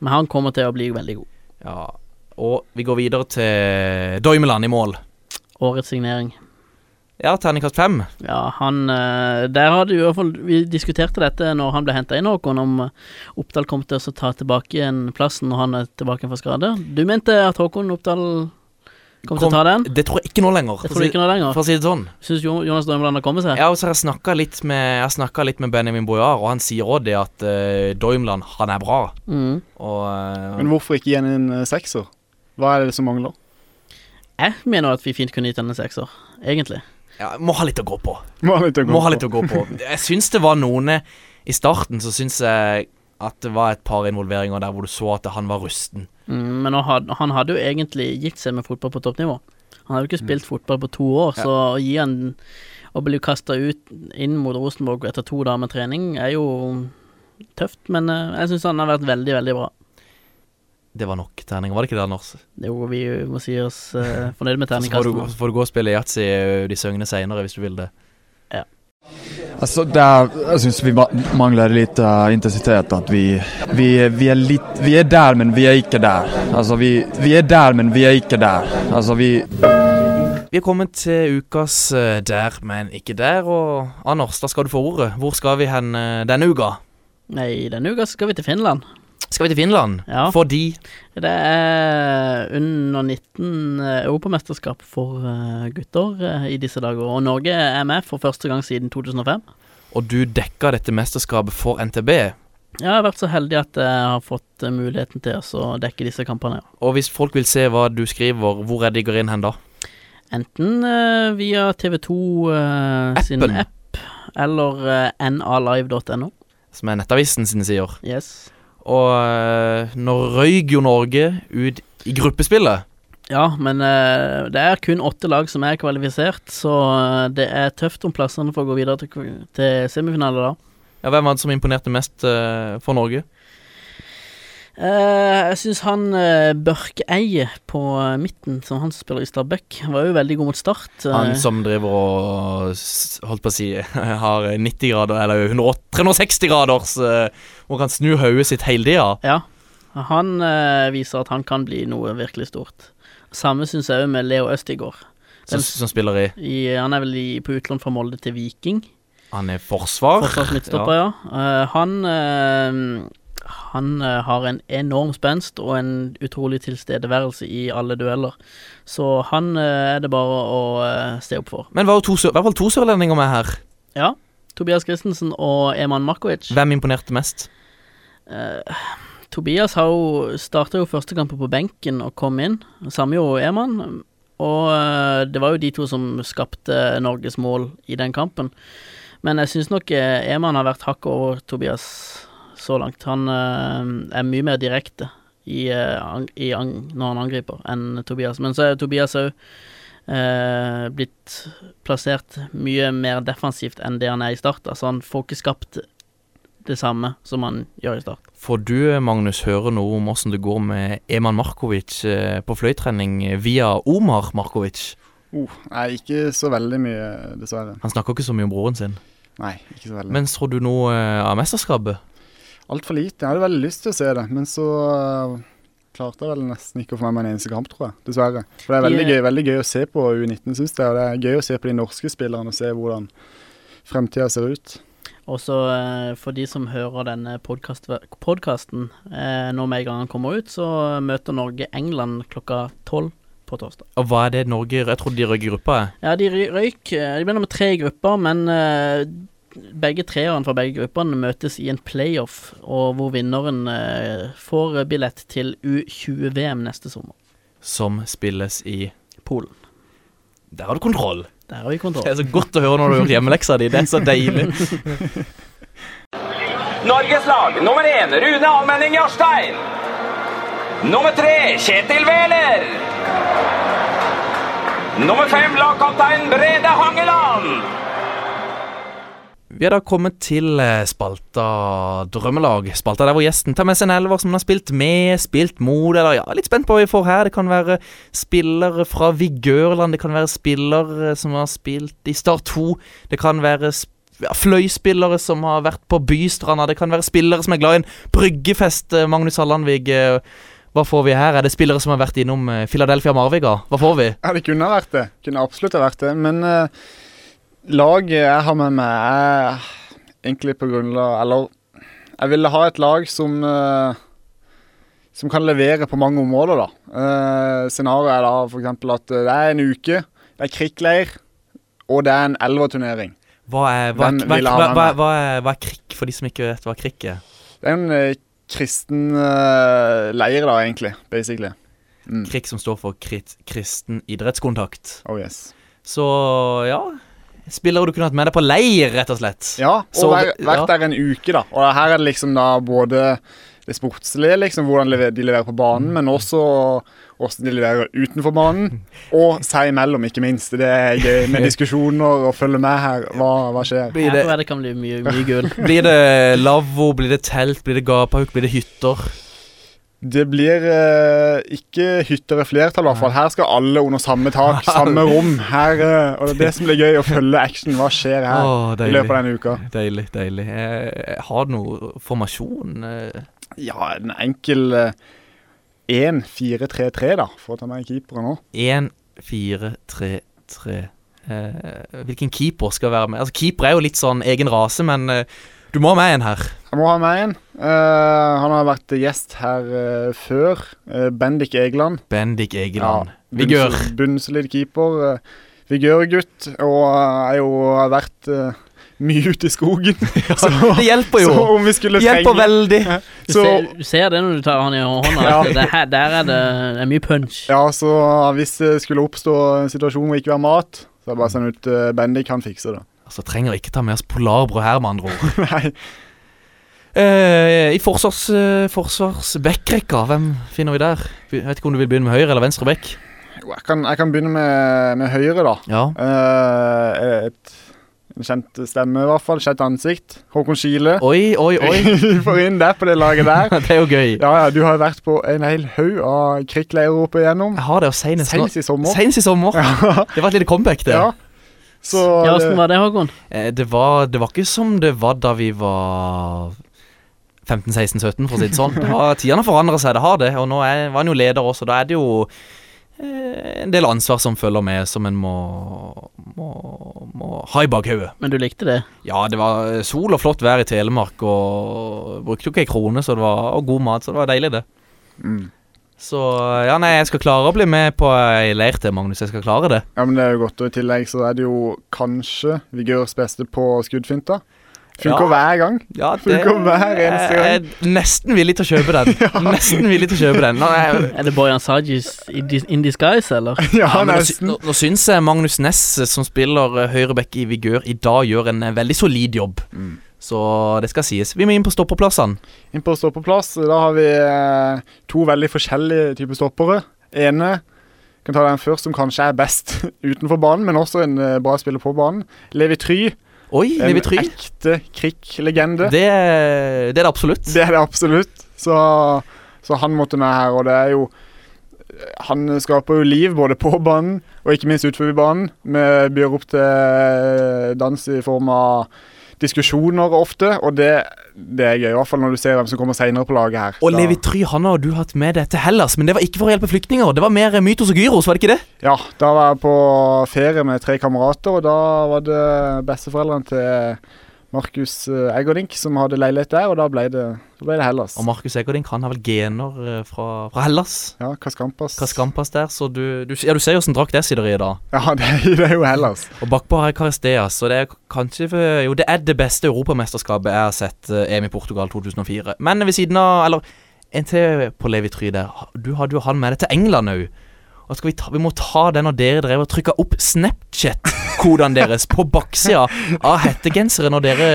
Speaker 5: Men han kommer til å bli veldig god.
Speaker 4: Ja. Og vi går videre til Doimeland i mål.
Speaker 5: Årets signering.
Speaker 4: Ja, terningkast fem.
Speaker 5: Ja, han eh, Der hadde jo i hvert fall Vi diskuterte dette når han ble henta inn, Håkon, om eh, Oppdal kom til å ta tilbake igjen plassen når han er tilbake fra skade. Du mente at Håkon Oppdal kom, til å
Speaker 4: Kom-
Speaker 5: ta den?
Speaker 4: Det tror jeg ikke nå lenger.
Speaker 5: Jeg tror ikke noe lenger.
Speaker 4: For å si det sånn.
Speaker 5: Syns Jonas Dømland har kommet seg?
Speaker 4: Ja, og så har jeg snakka litt med Jeg har snakket litt med Benjamin Bojar, og han sier òg det at uh, Doimland, han er bra.
Speaker 5: Mm.
Speaker 4: Og eh,
Speaker 6: Men hvorfor ikke gi han en eh, sekser? Hva er det som mangler?
Speaker 5: Jeg mener at vi fint kunne gitt han en sekser, egentlig.
Speaker 4: ja, må ha litt å gå på.
Speaker 6: Må ha litt å gå
Speaker 4: Må ha
Speaker 6: på.
Speaker 4: litt å gå på. Jeg syns det var noen eh, I starten så syns jeg at det var et par involveringer der hvor du så at han var rusten.
Speaker 5: Mm, men nå had, han hadde jo egentlig gitt seg med fotball på toppnivå. Han hadde jo ikke spilt fotball på to år, så å gi han å bli kasta ut inn mot Rosenborg etter to dager med trening, er jo tøft. Men eh, jeg syns han har vært veldig, veldig bra.
Speaker 4: Det var nok terninger, var det ikke det, Anders?
Speaker 5: Jo, vi må si oss uh, fornøyd med
Speaker 4: Så får du,
Speaker 5: terningkasten.
Speaker 4: så får du gå og spille yatzy ø, de søgnene seinere, hvis du vil det.
Speaker 7: Altså, det er, jeg syns vi ma- mangler litt eh, intensitet. At vi, vi, vi er litt Vi er der, men vi er ikke der. Altså, vi, vi er der, men vi er ikke der. Altså, vi
Speaker 4: Vi er kommet til ukas ø, Der, men ikke der. Og Anders, da skal du få ordet. Hvor skal vi hen ø, denne uka?
Speaker 5: Nei, denne uka skal vi til Finland.
Speaker 4: Skal vi til Finland?
Speaker 5: Ja.
Speaker 4: Fordi
Speaker 5: Det er under 19 eh, europamesterskap for eh, gutter eh, i disse dager, og Norge er med for første gang siden 2005.
Speaker 4: Og du dekka dette mesterskapet for NTB.
Speaker 5: Jeg har vært så heldig at jeg har fått eh, muligheten til å så dekke disse kampene.
Speaker 4: Og hvis folk vil se hva du skriver, hvor er det de går inn hen da?
Speaker 5: Enten eh, via TV2 eh, sin
Speaker 4: Appen.
Speaker 5: app, eller eh, nalive.no.
Speaker 4: Som er Nettavisen sine sider.
Speaker 5: Yes.
Speaker 4: Og ø, nå røyk jo Norge ut i gruppespillet.
Speaker 5: Ja, men eh, det er kun åtte lag som er kvalifisert, så eh, det er tøft om plassene for å gå videre til, kv- til semifinale, da.
Speaker 4: Ja, Hvem var det som imponerte mest ø, for Norge?
Speaker 5: Eh, jeg syns han uh, Børkeeie på eh, midten, som han som spiller i Stabæk, var jo veldig god mot start. eh,
Speaker 4: Han som driver og s- holdt på å si har 90 grader, eller 108 360 graders eh, Hvor han kan snu hodet sitt hele tida.
Speaker 5: ja. Han eh, viser at han kan bli noe virkelig stort. Samme syns jeg òg med Leo Østigård.
Speaker 4: Som, som spiller i
Speaker 5: I, han er vel i, på utlån fra Molde til Viking.
Speaker 4: Han er forsvar.
Speaker 5: Forsvarsmidtstopper, ja. Eh, han eh, han eh, har en enorm spenst og en utrolig tilstedeværelse i alle dueller. Så han eh, er det bare å eh, se opp for.
Speaker 4: Men var jo to, sør- i hvert fall to sørlendinger med her.
Speaker 5: Ja. Tobias Christensen og Eman Markovic.
Speaker 4: Hvem imponerte mest?
Speaker 5: Eh, Tobias har jo starta jo første kampen på benken og kom inn. Samme gjorde Eman. Og eh, det var jo de to som skapte Norges mål i den kampen. Men jeg syns nok eh, Eman har vært hakket over Tobias så langt. Han eh, er mye mer direkte i, eh, ang- i ang når han angriper, enn Tobias. Men så er Tobias òg eh, blitt plassert mye mer defensivt enn det han er i start. Altså han får ikke skapt det samme som han gjør i start.
Speaker 4: Får du, Magnus, høre noe om åssen det går med Eman Markovic eh, på fløytrening via Omar Markovic?
Speaker 6: Oh, nei, ikke så veldig mye, dessverre.
Speaker 4: Han snakker ikke så mye om broren sin.
Speaker 6: Nei, ikke så veldig.
Speaker 4: Men så du noe eh, av mesterskapet?
Speaker 6: Altfor lite. Jeg hadde veldig lyst til å se det, men så eh, klarte jeg vel nesten ikke å få med meg en eneste kamp, tror jeg. Dessverre. For det er veldig,
Speaker 5: De-
Speaker 6: gøy, veldig gøy å se på U19, syns jeg. Og det er gøy å se på de norske spillerne og se hvordan fremtida ser ut.
Speaker 5: Og så eh, for de som hører denne podcast, podcasten eh, når med en gang han kommer ut, så møter Norge England klokka tolv på torsdag.
Speaker 4: Og hva er det Norge Jeg trodde de røyk i gruppa. eh? jeg.
Speaker 5: Ja, de ry- røyk. eh, De ble nummer tre i gruppa, men eh, begge treerne fra begge gruppene møtes i en playoff, og hvor vinneren eh, får billett til U20-VM neste sommer.
Speaker 4: Som spilles i
Speaker 5: Polen.
Speaker 4: Der har du kontroll!
Speaker 5: Der har vi kontroll.
Speaker 4: Det er så godt å høre når du gjør hjemmeleksa di. Det er så deilig.
Speaker 10: Norges lag nummer én Rune Almenning Jarstein. Nummer tre Kjetil Wæler. Nummer fem lagkaptein Brede Hangeland.
Speaker 4: Vi er da kommet til eh, spalta Drømmelag. Spalta der hvor gjesten tar med seg en elver som han har spilt med, spilt mot, eller ja, litt spent på hva vi får her. Det kan være spillere fra Vigørland, det kan være spillere som har spilt i Star 2, det kan være sp ja, fløyspillere som har vært på Bystranda, det kan være spillere som er glad i en bryggefest. eh, Magnus Hallandvig, eh, hva får vi her? Er det spillere som har vært innom eh, Philadelphia Marviga? Hva får vi?
Speaker 6: Ja, det kunne ha vært det. Kunne absolutt ha vært det. Men eh, laget jeg har med meg, er egentlig på grunnlag Eller jeg ville ha et lag som eh, som kan levere på mange områder, da. Eh, Scenarioet er da f.eks. at det er en uke, det er krikkleir, og det er en elverturnering.
Speaker 4: Hva er, hva, er,
Speaker 6: Hvem
Speaker 4: hva, er,
Speaker 6: vil ha
Speaker 4: hva,
Speaker 6: den
Speaker 4: hva,
Speaker 6: her?
Speaker 4: hva, er, hva er krikk, for de som ikke vet hva krikk er?
Speaker 6: Det er en eh, kristen eh, leir, da, egentlig. Basically. Mm.
Speaker 4: Krik som står for krit, kristen idrettskontakt.
Speaker 6: Oh yes.
Speaker 4: Så ja Spillere du kunne hatt med deg på leir, rett og slett.
Speaker 6: Ja, og
Speaker 4: Så-
Speaker 6: vær, vært
Speaker 4: ja.
Speaker 6: der en uke, da. Og her er det liksom da både det sportslige, liksom hvordan lever- de leverer på banen, men også hvordan de leverer utenfor banen. Og seg imellom, ikke minst. Det er gøy med diskusjoner og følge med her. Hva, hva skjer?
Speaker 4: Blir
Speaker 5: Jeg
Speaker 4: det,
Speaker 5: tror det kan bli mye, mye gull.
Speaker 4: blir det lavvo, blir det telt, blir det gapahauk, blir det hytter?
Speaker 6: Det blir eh, ikke hytter i flertall, i hvert fall. Her skal alle under samme tak, samme rom. Her, eh, og det er det som blir gøy, å følge action. Hva skjer her
Speaker 4: Åh,
Speaker 6: i
Speaker 4: deilig.
Speaker 6: løpet av denne uka?
Speaker 4: Deilig, deilig. Eh, har du noe formasjon? Eh,
Speaker 6: Ja, en enkel eh, 1-4-3-3, da, for å ta med keeperen nå.
Speaker 4: 1, 4, 3, 3 eh, Hvilken keeper skal være med? Altså, Keeper er jo litt sånn egen rase, men eh, du må ha med en her.
Speaker 6: Jeg må ha med en. Eh, han har vært gjest her eh, før. Eh, Bendik Egeland.
Speaker 4: Bendik Egeland. Vigør.
Speaker 6: Bundes- Bundeslid keeper. Uh, Vigørgutt. Og eh, er jo har vært eh, mye ute i skogen. så,
Speaker 4: Det hjelper
Speaker 6: så
Speaker 4: jo.
Speaker 6: om vi skulle
Speaker 4: Det hjelper
Speaker 6: trenge
Speaker 4: veldig.
Speaker 5: Du,
Speaker 6: så,
Speaker 5: ser, du ser det når du tar han i hånda.
Speaker 6: Ja.
Speaker 5: at Det her, der er det, det er mye punch.
Speaker 6: Ja, så hvis det skulle oppstå en situasjon hvor det ikke var mat, så er det bare å sende ut eh, Bendik. Han fikser det.
Speaker 4: Altså, trenger ikke ta med oss Polarbrød her, med andre ord.
Speaker 6: Nei,
Speaker 4: Eh, I forsvars, eh, forsvarsbackrekka, hvem finner vi der? Vi- Jeg vet ikke om du vil begynne med høyre eller venstre back.
Speaker 6: jo, jeg kan, jeg kan begynne med, med høyre, da.
Speaker 4: Ja.
Speaker 6: Eh, et, en kjent stemme, i hvert fall. Kjent ansikt. Håkon Skile.
Speaker 4: Oi, oi, oi.
Speaker 6: Vi får inn der på det laget der.
Speaker 4: Det er jo gøy.
Speaker 6: Ja, ja, Du har jo vært på en hel haug av krikkleirer opp igjennom.
Speaker 4: Jeg har det jo senest nå.
Speaker 6: Senest i sommer.
Speaker 4: Senest i sommer. Det var et lite comeback, det.
Speaker 6: Ja. Så
Speaker 5: Ja,
Speaker 6: det,
Speaker 5: Åssen var det, Håkon?
Speaker 4: Eh, Det, var, det var ikke som det var da vi var 15-16-17, for å si det sånn. Det var, tidene forandrer seg, det har det. Og nå er, var han jo leder også, da er det jo eh, en del ansvar som følger med, som en må, må, må ha i bakhodet.
Speaker 5: Men du likte det?
Speaker 4: Ja, det var eh, sol og flott vær i Telemark, og brukte jo ikke ei krone, så det var, og god mat, så det var deilig, det.
Speaker 6: Mm.
Speaker 4: Så ja, nei, jeg skal klare å bli med på ei leir til, Magnus. Jeg skal klare det.
Speaker 6: ja, men det er jo godt. Og i tillegg så er det jo kanskje Vigørs beste på skuddfinta. Funker hver gang.
Speaker 4: Ja,
Speaker 6: Funker hver eneste
Speaker 4: Jeg
Speaker 6: gang.
Speaker 4: er nesten villig til å kjøpe den. Nesten villig til å kjøpe den. Nå, jeg,
Speaker 5: Er det Bojan Sajis i dis- in disguise, eller?
Speaker 6: Ja,
Speaker 4: Ja, men nå, sy-
Speaker 6: nesten.
Speaker 4: nå, nå syns jeg Magnus Næss, eh, som spiller eh, høyreback i Vigør, i dag gjør en eh, veldig solid jobb.
Speaker 6: Mm.
Speaker 4: Så det skal sies. Vi må inn på stopperplassene.
Speaker 6: Inn på stoppeplass. Da har vi eh, to veldig forskjellige typer stoppere. Ene kan ta den først, som kanskje er best utenfor banen, men også en eh, bra spiller på banen. Levi Try.
Speaker 4: Oi,
Speaker 6: En
Speaker 4: Levi Try.
Speaker 6: ekte Krik-legende.
Speaker 4: Det, det er det absolutt.
Speaker 6: Det er det absolutt. Så, så han måtte med her, og det er jo Han skaper jo liv både på banen og ikke minst utenfor banen. Vi byr opp til eh, dans i form av diskusjoner ofte, og det, det er gøy. I hvert fall når du ser hvem som kommer seinere på laget her.
Speaker 4: Og
Speaker 6: Da-
Speaker 4: Levi Try han har du hatt med deg til Hellas, men det var ikke for å hjelpe flyktninger. Det var mer eh, Mytos og Gyros, var det ikke det?
Speaker 6: Ja, da var jeg på ferie med tre kamerater, og da var det besteforeldrene til Markus eh, Eggerdink som hadde leilighet der, og da ble det, da ble det Hellas.
Speaker 4: Og Markus Eggerdink han har vel gener eh, fra, fra Hellas.
Speaker 6: Ja, Kaskampas.
Speaker 4: Kaskampas der, så du, du, ja, du ser jo åssen drakt jeg sitter i i dag.
Speaker 6: Ja, det, er- det er jo Hellas.
Speaker 4: Og bakpå har jeg Caristeas, og det er kanskje Jo, det er det beste europamesterskapet jeg har sett, eh, EM i Portugal 2004. Men ved siden av Eller en til på Levi Try der. Du hadde jo han med deg til England òg. Og skal vi, ta, vi må ta den når dere drev og trykka opp Snapchat-kodene deres på baksida av hettegensere når dere,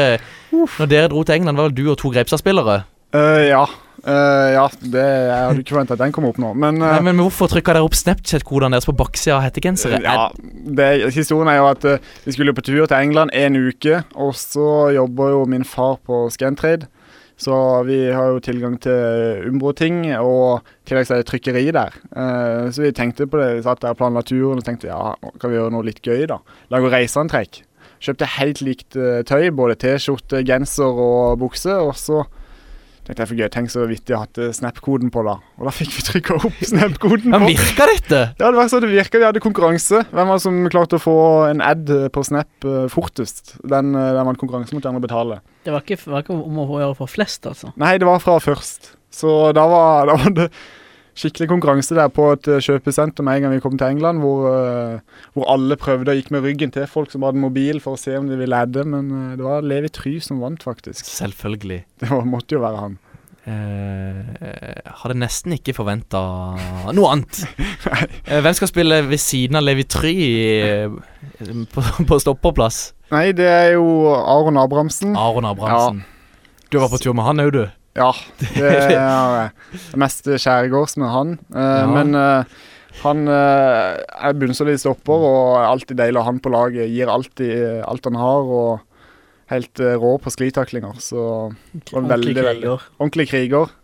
Speaker 4: når dere dro til England. Var det du og to Greipstad-spillere?
Speaker 6: Eh, ja. Eh, ja, det, jeg hadde ikke forventa at den kom opp nå, men, eh,
Speaker 4: Nei, men hvorfor trykka dere opp Snapchat-kodene deres på baksida av hettegensere?
Speaker 6: ja, det, Historien er jo at eh, vi skulle på tur til England en uke, og så jobber jo min far på Scantrade. Så vi har jo tilgang til Umbro-ting, og i tillegg så er det trykkeri der. Eh, så vi tenkte på det, vi satt der og planla turen og tenkte ja, nå kan vi gjøre noe litt gøy, da? Lage reiseantrekk. Kjøpte helt likt eh, tøy, både T-skjorte, genser og bukse. Og så tenkte jeg for gøy, tenk så vittig jeg hadde Snap-koden på, da. Og da fikk vi trykka opp Snap-koden
Speaker 4: Men
Speaker 6: på.
Speaker 4: virka dette?
Speaker 6: Ja, det var så det virka. Vi hadde konkurranse. Hvem var det som klarte å få en ad på Snap eh, fortest? Den, eh, den vant konkurransen mot den å betale.
Speaker 5: Det var ikke, var ikke om å gjøre for flest, altså.
Speaker 6: Nei, det var fra først. Så da var, da var det skikkelig konkurranse der på et eh, kjøpesenter med en gang vi kom til England, hvor, eh, hvor alle prøvde og gikk med ryggen til folk som hadde mobil, for å se om de ville adde, men eh, det var Levi Try som vant, faktisk.
Speaker 4: Selvfølgelig.
Speaker 6: Det var, måtte jo være han.
Speaker 4: Eh, hadde nesten ikke forventa noe annet. Eh, hvem skal spille ved siden av Levi Try eh, på, på stopperplass?
Speaker 6: Nei, det er jo Aron Abrahamsen.
Speaker 4: Aron Abrahamsen. Du var på tur med han òg, du.
Speaker 6: Ja, det er det mest skjærgårds med han. Eh, Men eh, han eh, er bunnsolid stopper og er alltid deilig å ha han på laget. Gir alltid eh, alt han har og helt eh, rå på sklitaklinger. Så var en
Speaker 5: Ordentlig
Speaker 6: veldig, veldig
Speaker 5: kriger.
Speaker 6: ordentlig kriger.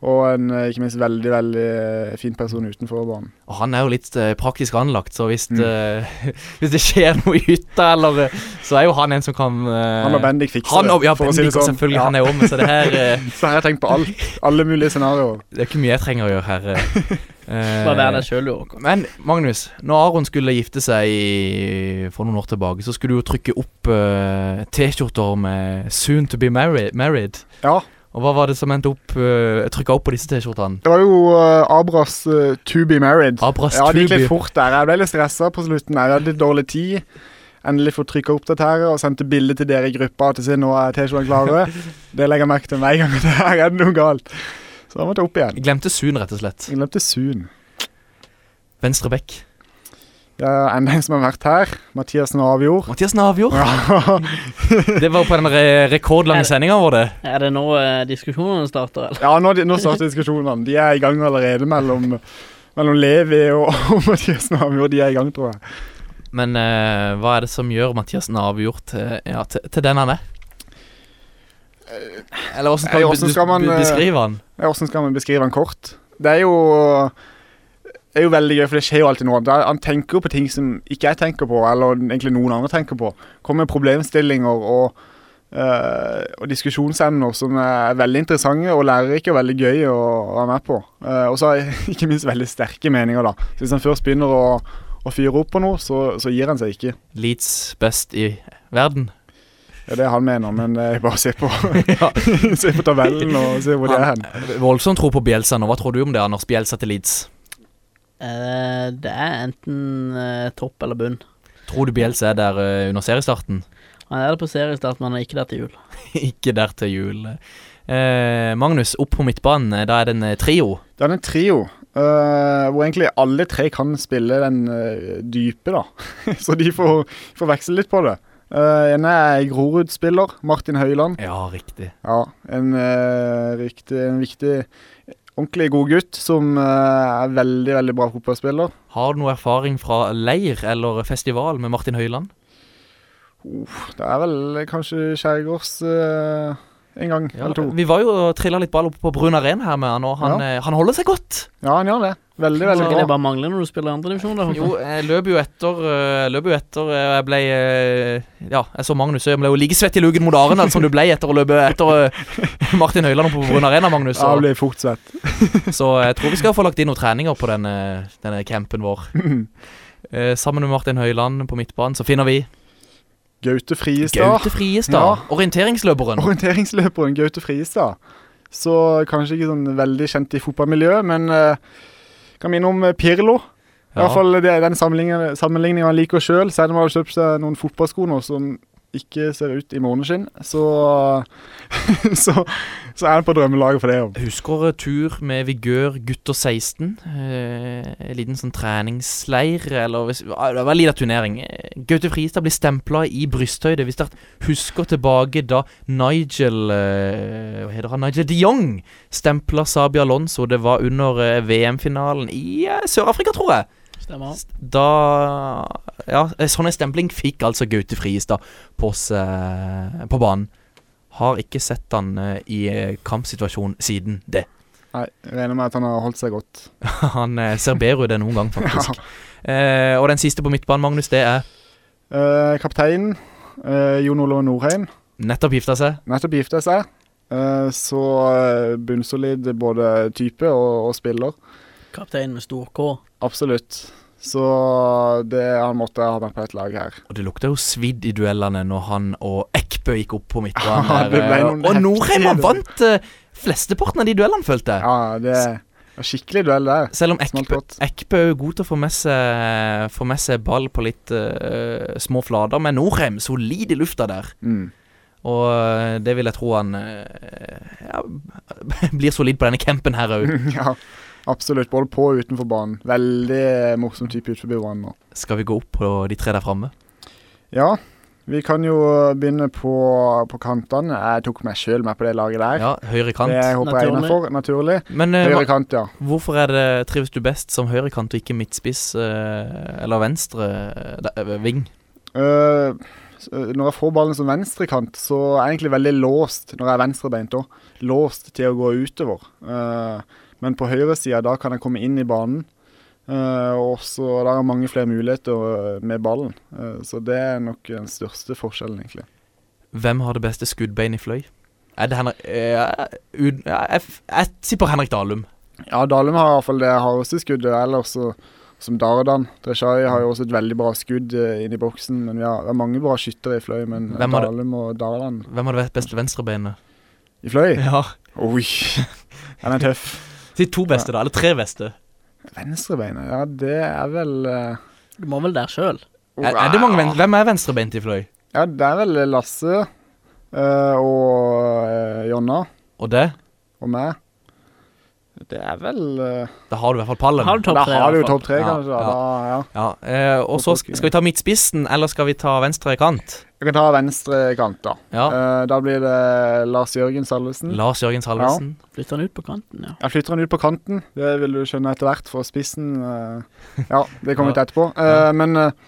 Speaker 6: Og en eh, ikke minst veldig, veldig eh, fin person utenfor banen.
Speaker 4: Og han er jo litt eh, praktisk anlagt, så hvis,
Speaker 6: Mm.
Speaker 4: eh, hvis det skjer noe i hytta, eller eh, Så er jo han en som kan eh,
Speaker 6: Han og Bendik fikser
Speaker 4: han og,
Speaker 6: det,
Speaker 4: ja,
Speaker 6: for å
Speaker 4: Bendik,
Speaker 6: si det sånn.
Speaker 4: selvfølgelig.
Speaker 6: Ja.
Speaker 4: Han er jo med, så det her eh,
Speaker 6: Så her har jeg tenkt på alt. Alle mulige scenarioer.
Speaker 4: Det er ikke mye jeg trenger å gjøre her. eh.
Speaker 5: Bare
Speaker 4: Eh,
Speaker 5: vær deg sjøl, du, Håkon.
Speaker 4: Men Magnus, når Aron skulle gifte seg i, for noen år tilbake, så skulle du jo trykke opp eh, T-skjorter med 'Soon to be married'. married.
Speaker 6: Ja,
Speaker 4: Og hva var det som endte opp uh, trykka opp på disse T-skjortene?
Speaker 6: det var jo eh, Abras eh, To Be Married.
Speaker 4: Abras
Speaker 6: Ja, det gikk litt
Speaker 4: Tubi.
Speaker 6: fort der. Jeg ble litt stressa på slutten. Jeg hadde litt dårlig tid. Endelig fått trykka opp dette her og sendte bilde til dere i gruppa. Til å si nå er T-skjortene klare. Det legger jeg merke til hver gang. at Her er det noe galt. Så da måtte jeg opp igjen.
Speaker 4: Jeg glemte Soon, rett og slett.
Speaker 6: Jeg glemte Sun.
Speaker 4: Venstre bekk.
Speaker 6: Det er enda en som har vært her. Mathias Navjord.
Speaker 4: Mathias Navjord.
Speaker 6: Ja.
Speaker 4: Det var på den re rekordlange sendinga vår, det.
Speaker 5: Er det nå eh, diskusjonene starter, eller?
Speaker 6: Ja, nå, nå starter diskusjonene. De er i gang allerede mellom, mellom Levi og, og Mathias Navjord. De er i gang, tror jeg.
Speaker 4: Men eh, hva er det som gjør Mathias Navjord til, ja, til, til den han er? Eller åssen
Speaker 6: nei,
Speaker 4: skal,
Speaker 6: hvordan skal man,
Speaker 4: man be-
Speaker 6: eh,
Speaker 4: beskrive han?
Speaker 6: Ja, Hvordan skal man beskrive han kort? Det er jo det er jo veldig gøy, for det skjer jo alltid noe. Da- Han tenker jo på ting som ikke jeg tenker på, eller egentlig noen andre tenker på. Kommer med problemstillinger og, eh, og diskusjonsemner som er veldig interessante og lærerike og veldig gøy å være med på. Eh, og så har ikke minst veldig sterke meninger, da. Så hvis han først begynner å, å fyre opp på noe, så, så gir han seg ikke.
Speaker 4: Leeds best i verden.
Speaker 6: Det er det han mener, men det er bare å se på, se på tabellen og se hvor det er hen.
Speaker 4: Voldsom tro på Bjelsa nå. Hva tror du om det, Anders? Bjelsa til Leeds?
Speaker 5: Eh, det er enten eh, topp eller bunn.
Speaker 4: Tror du Bjelsa er der eh, under seriestarten?
Speaker 5: Han er det på seriestart, men han er ikke der til jul.
Speaker 4: ikke der til jul. Eh, Magnus, opp på midtbanen, eh, da er det en eh, trio.
Speaker 6: Det er en trio eh, hvor egentlig alle tre kan spille den eh, dype, da. Så de får, får veksle litt på det. Uh, ene er Grorud-spiller, Martin Høiland.
Speaker 4: Ja, riktig.
Speaker 6: Ja, en, eh, riktig, en viktig, ordentlig god gutt som eh, er veldig, veldig bra fotballspiller.
Speaker 4: Har du noe erfaring fra leir eller festival med Martin Høiland?
Speaker 6: Det er vel kanskje Skjærgårds eh, en gang eller to.
Speaker 4: Vi var jo og trilla litt ball oppe på Brun Arena her med han, og han,
Speaker 6: Ja.
Speaker 4: eh, han holder seg godt.
Speaker 6: Ja, han gjør det. Veldig,
Speaker 5: Så
Speaker 6: veldig
Speaker 5: det
Speaker 6: bra.
Speaker 5: bare mangler når du spiller i andre divisjon, da.
Speaker 4: Jo, jeg løp jo etter øh, Løp jo etter øh, Jeg ble øh, Ja, jeg så Magnus Øy, Jeg ble jo like svett i luken mot Arendal som du ble etter å løpe etter øh, Martin Høiland på Brun Arena, Magnus.
Speaker 6: Ja,
Speaker 4: Så,
Speaker 6: blir fort svett.
Speaker 4: så jeg tror vi skal få lagt inn noen treninger på denne, denne campen vår. Eh, sammen med Martin Høiland på midtbanen så finner vi
Speaker 6: Gaute Friestad.
Speaker 4: Gaute Friestad.
Speaker 6: Ja.
Speaker 4: Orienteringsløperen.
Speaker 6: Orienteringsløperen Gaute Friestad. Så kanskje ikke sånn veldig kjent i fotballmiljøet, men eh, kan minne om eh, Pirlo. I
Speaker 4: Ja.
Speaker 6: hvert fall det, den sammenligningen sammenligningen han liker sjøl, selv om han har kjøpt seg noen fotballsko nå som ikke ser ut i måneskinn. Så, så, så er han på drømmelaget for det. jo.
Speaker 4: Jeg husker eh, tur med Vigør gutter 16. eh, En liten sånn treningsleir, eller hvis, ah, Det var en liten turnering. Eh, Gaute Friestad blir stempla i brysthøyde. Hvis dere husker tilbake da Nigel eh, Hva heter han? Nigel de Jong stempla Sabi Alonso. Det var under eh, VM-finalen i eh, Sør-Afrika, tror jeg.
Speaker 5: Stemmer.
Speaker 4: Da Ja, eh, sånn en stempling fikk altså Gaute Friestad på seg på banen. Har ikke sett han eh, i eh, kampsituasjon siden det.
Speaker 6: Nei, jeg Regner med at han har holdt seg godt.
Speaker 4: Han eh, ser bedre ut enn noen gang, faktisk. eh, og den siste på midtbanen, Magnus, det er
Speaker 6: Eh, kapteinen, eh, Jon Olav Norheim,
Speaker 4: nettopp gifta seg.
Speaker 6: nettopp gifta seg. Eh, så eh, bunnsolid både type og, og spiller.
Speaker 5: Kaptein med stor K.
Speaker 6: Absolutt. Så det han måtte ha med på et lag her.
Speaker 4: Og det lukta jo svidd i duellene når han og Ekbø gikk opp på midtbanen.
Speaker 6: Ja, det
Speaker 4: der,
Speaker 6: ble
Speaker 4: eh,
Speaker 6: noen heftige
Speaker 4: og Norheim
Speaker 6: dueller.
Speaker 4: har vant eh, flesteparten av de duellene, følte jeg.
Speaker 6: Ja, det var skikkelig duell der.
Speaker 4: Selv om
Speaker 6: Smalt
Speaker 4: Ekbø,
Speaker 6: godt.
Speaker 4: Ekbø er jo god til å få med seg, få med seg ball på litt eh, små flater, men Norheim solid i lufta der.
Speaker 6: Mm.
Speaker 4: Og eh, det vil jeg tro han eh, ja, blir solid på denne campen her òg.
Speaker 6: ja, absolutt. Både på og utenfor banen. Veldig morsom type utenfor banen nå.
Speaker 4: Skal vi gå opp på de tre der framme?
Speaker 6: Ja, vi kan jo begynne på, på kantene. Jeg tok meg sjøl med på det laget der.
Speaker 4: Ja, høyre kant.
Speaker 6: det håper jeg er innafor, naturlig.
Speaker 4: Men eh,
Speaker 6: Høyre
Speaker 4: hva-
Speaker 6: kant, ja.
Speaker 4: hvorfor er det trives du best som høyrekant og ikke midtspiss eh, eller venstre eh, da- eh, ving?
Speaker 6: Eh, s- eh, når jeg får ballen som venstrekant, så er jeg egentlig veldig låst når jeg er venstrebeint. også. Låst til å gå utover. Eh, men på høyresida, da kan jeg komme inn i banen. Eh, og så der er mange flere muligheter eh, med ballen. Eh, så det er nok den største forskjellen, egentlig.
Speaker 4: Hvem har det beste skuddbein i fløy? Er det Henrik eh, ut- ja, Jeg f- jeg tipper Henrik Dalum.
Speaker 6: Ja, Dalum har i hvert fall det hardeste skuddet. Ellers så, som Dardan. Dreshai har jo også et veldig bra skudd eh, inn i boksen. Men vi har, det er mange bra skyttere i fløy, men eh,
Speaker 4: Hvem har det-
Speaker 6: Dalum og Dardan
Speaker 4: Hvem har det ve- beste venstrebeinet?
Speaker 6: i fløy?
Speaker 4: Ja.
Speaker 6: Oi, den er tøff.
Speaker 4: Si to beste, da. Eller tre beste.
Speaker 6: Venstrebeinet, ja, det er vel eh,
Speaker 5: Du må vel der sjøl.
Speaker 4: Er, er det mange ven Hvem er venstrebeint i fløy?
Speaker 6: Ja, det er vel Lasse eh, og eh, Jonna
Speaker 4: Og det?
Speaker 6: og meg. Det er vel eh,
Speaker 4: Da har du i hvert fall pallen.
Speaker 5: Har du topp
Speaker 6: Da
Speaker 5: tre? i
Speaker 6: har du
Speaker 5: hvert
Speaker 6: jo
Speaker 5: fall?
Speaker 6: topp tre,
Speaker 4: Ja,
Speaker 6: kanskje. Da,
Speaker 4: ja.
Speaker 6: da, ja.
Speaker 4: Ja, eh, og så sk- skal vi ta midtspissen, eller skal vi ta venstre kant?
Speaker 6: Jeg kan ta venstre kant, da.
Speaker 4: Ja.
Speaker 6: Eh, da blir det Lars Jørgen Salvesen.
Speaker 4: Lars Jørgen Salvesen.
Speaker 5: Flytter han ut på kanten, ja.
Speaker 6: Jeg flytter han ut på kanten, det vil du skjønne etter hvert, for spissen eh, Ja, det kommer vi
Speaker 4: Ja.
Speaker 6: til etterpå. Eh, Men eh,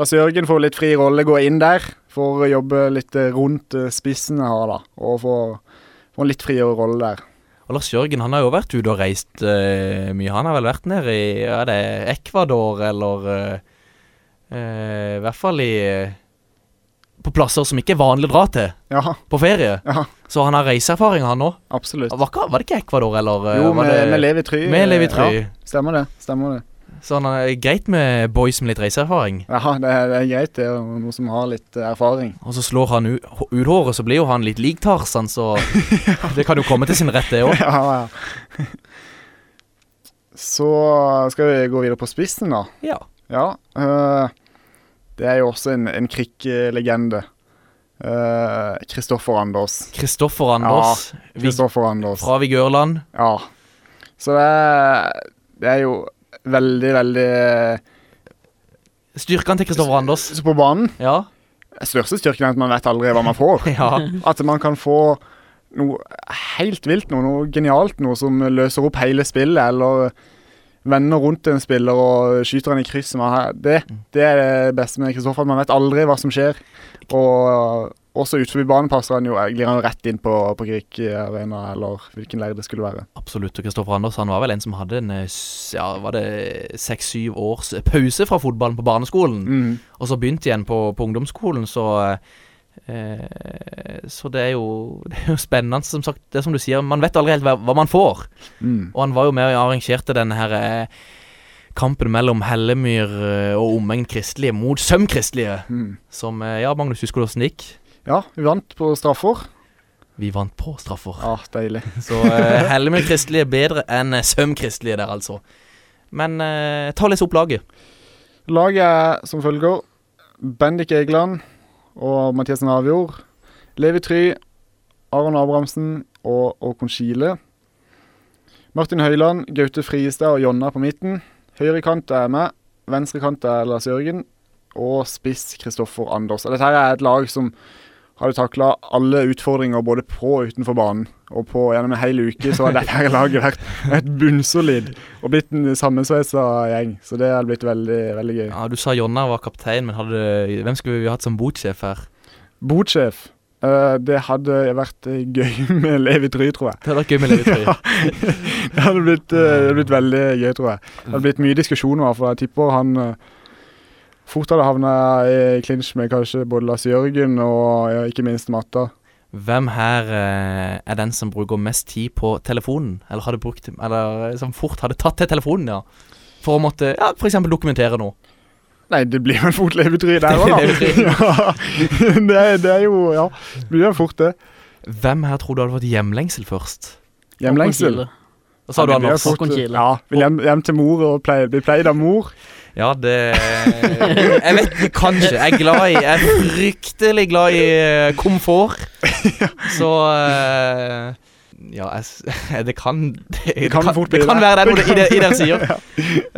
Speaker 6: Lars Jørgen får litt fri rolle, går inn der. Får jobbe litt eh, rundt eh, spissen jeg har, da. Og får, får en litt friere rolle der.
Speaker 4: Og Lars Jørgen han har jo vært ute og reist eh, mye. Han har vel vært nede i er det Ecuador eller eh, eh, I hvert fall i eh, På plasser som ikke er vanlig å dra til
Speaker 6: Ja,
Speaker 4: på ferie.
Speaker 6: ja
Speaker 4: Så han har reiseerfaring, han òg.
Speaker 6: absolutt.
Speaker 4: Var, ikke- var det ikke Ecuador, eller? eh,
Speaker 6: Jo,
Speaker 4: var
Speaker 6: med,
Speaker 4: det,
Speaker 6: med Levi Try. eh,
Speaker 4: med Levi Try.
Speaker 6: Ja, stemmer det. stemmer det.
Speaker 4: Så han er greit med boys med litt reiseerfaring.
Speaker 6: Ja, det er, det er greit, det. er Noen som har litt eh, erfaring.
Speaker 4: Og så slår han u- h- ut håret, så blir jo han litt lik Tarzan, så det kan jo komme til sin rett, det òg.
Speaker 6: Ja, ja. Så skal vi gå videre på spissen, da.
Speaker 4: Ja.
Speaker 6: Ja. eh, det er jo også en, en krikklegende. Kristoffer Eh, Anders.
Speaker 4: Kristoffer Anders
Speaker 6: Ja, Kristoffer Anders.
Speaker 4: fra Vigørland.
Speaker 6: Ja. Så det er, det er jo veldig, veldig
Speaker 4: Styrkene til Kristoffer Anders.
Speaker 6: Så på banen
Speaker 4: Ja.
Speaker 6: Største styrken er at man vet aldri hva man får.
Speaker 4: Ja.
Speaker 6: At man kan få noe helt vilt, noe, noe genialt, noe som løser opp hele spillet, eller vender rundt en spiller og skyter han i krysset. Man har- Det, det er det beste med Kristoffer, at man vet aldri hva som skjer. Og også utenfor banen passer han jo, eh, glir han jo rett inn på, på Grieg Arena, eller hvilken leir det skulle være.
Speaker 4: Absolutt. Og Kristoffer Anders han var vel en som hadde en eh, s- ja, var det seks-syv års eh, pause fra fotballen på barneskolen,
Speaker 6: Mhm.
Speaker 4: og så begynte igjen på, på ungdomsskolen, så eh, Så det er, jo, det er jo spennende, som sagt. Det er som du sier, man vet aldri helt hva, hva man får.
Speaker 6: Mm.
Speaker 4: Og han var jo med og arrangerte denne her eh, kampen mellom Hellemyr eh, og omegn kristelige mot Søm kristelige,
Speaker 6: Mm.
Speaker 4: som eh, Ja, Magnus, husker du åssen det gikk?
Speaker 6: Ja, vi vant på straffer.
Speaker 4: Vi vant på straffer.
Speaker 6: Ja, deilig.
Speaker 4: Så uh, Hellemyr kristelige er bedre enn eh, Søm kristelige der, altså. Men eh, ta og les opp laget.
Speaker 6: Laget er som følger Bendik Egeland og Mathias Navjord. Levi Try, Aron Abrahamsen og Håkon Kile. Martin Høiland, Gaute Friestad og Jonna på midten. Høyre kant er meg, venstre kant er Lars Jørgen, og spiss Kristoffer Anders. Og dette her er et lag som hadde takla alle utfordringer både på og utenfor banen. Og på gjennom en hel uke så har dette her laget vært et bunnsolid og blitt en sammensveisa gjeng. Så det har blitt veldig, veldig gøy.
Speaker 4: Ja, Du sa Jonna var kaptein, men hadde, hvem skulle vi hatt som botsjef her?
Speaker 6: Botsjef. eh, det hadde vært eh, gøy med Levi Try, tror jeg.
Speaker 4: Det hadde vært gøy med Levi Try.
Speaker 6: ja. Det hadde blitt, eh, det hadde blitt veldig gøy, tror jeg. Det hadde blitt mye diskusjoner, for jeg tipper han eh, fort hadde havna i clinch med kanskje både Lars Jørgen og ja, ikke minst Matta.
Speaker 4: Hvem her eh, er den som bruker mest tid på telefonen? Eller, hadde brukt, eller eh, som fort hadde tatt til telefonen, ja. For å måtte ja, f.eks. dokumentere noe.
Speaker 6: Nei, det blir vel fort Levi Try der òg,
Speaker 4: Levi
Speaker 6: da.
Speaker 4: Try.
Speaker 6: ja, det, er- det er jo Ja, det blir vel fort det.
Speaker 4: Hvem her tror du hadde fått hjemlengsel først?
Speaker 6: Hjemlengsel.
Speaker 4: Hva sa
Speaker 6: Ja,
Speaker 4: du,
Speaker 6: det blir
Speaker 4: Anders?
Speaker 6: fort- Ja, vil hjem, hjem til mor og pleie, bli pleid av mor.
Speaker 4: Ja, det Jeg vet ikke, kanskje. Jeg er glad i Jeg er fryktelig glad i eh, komfort. Så eh, Ja, jeg, s- det kan Det, det
Speaker 6: kan
Speaker 4: kan,
Speaker 6: fort
Speaker 4: det
Speaker 6: bli
Speaker 4: kan
Speaker 6: det.
Speaker 4: være det
Speaker 6: Det
Speaker 4: noe i det, i det han sier.
Speaker 6: Ja.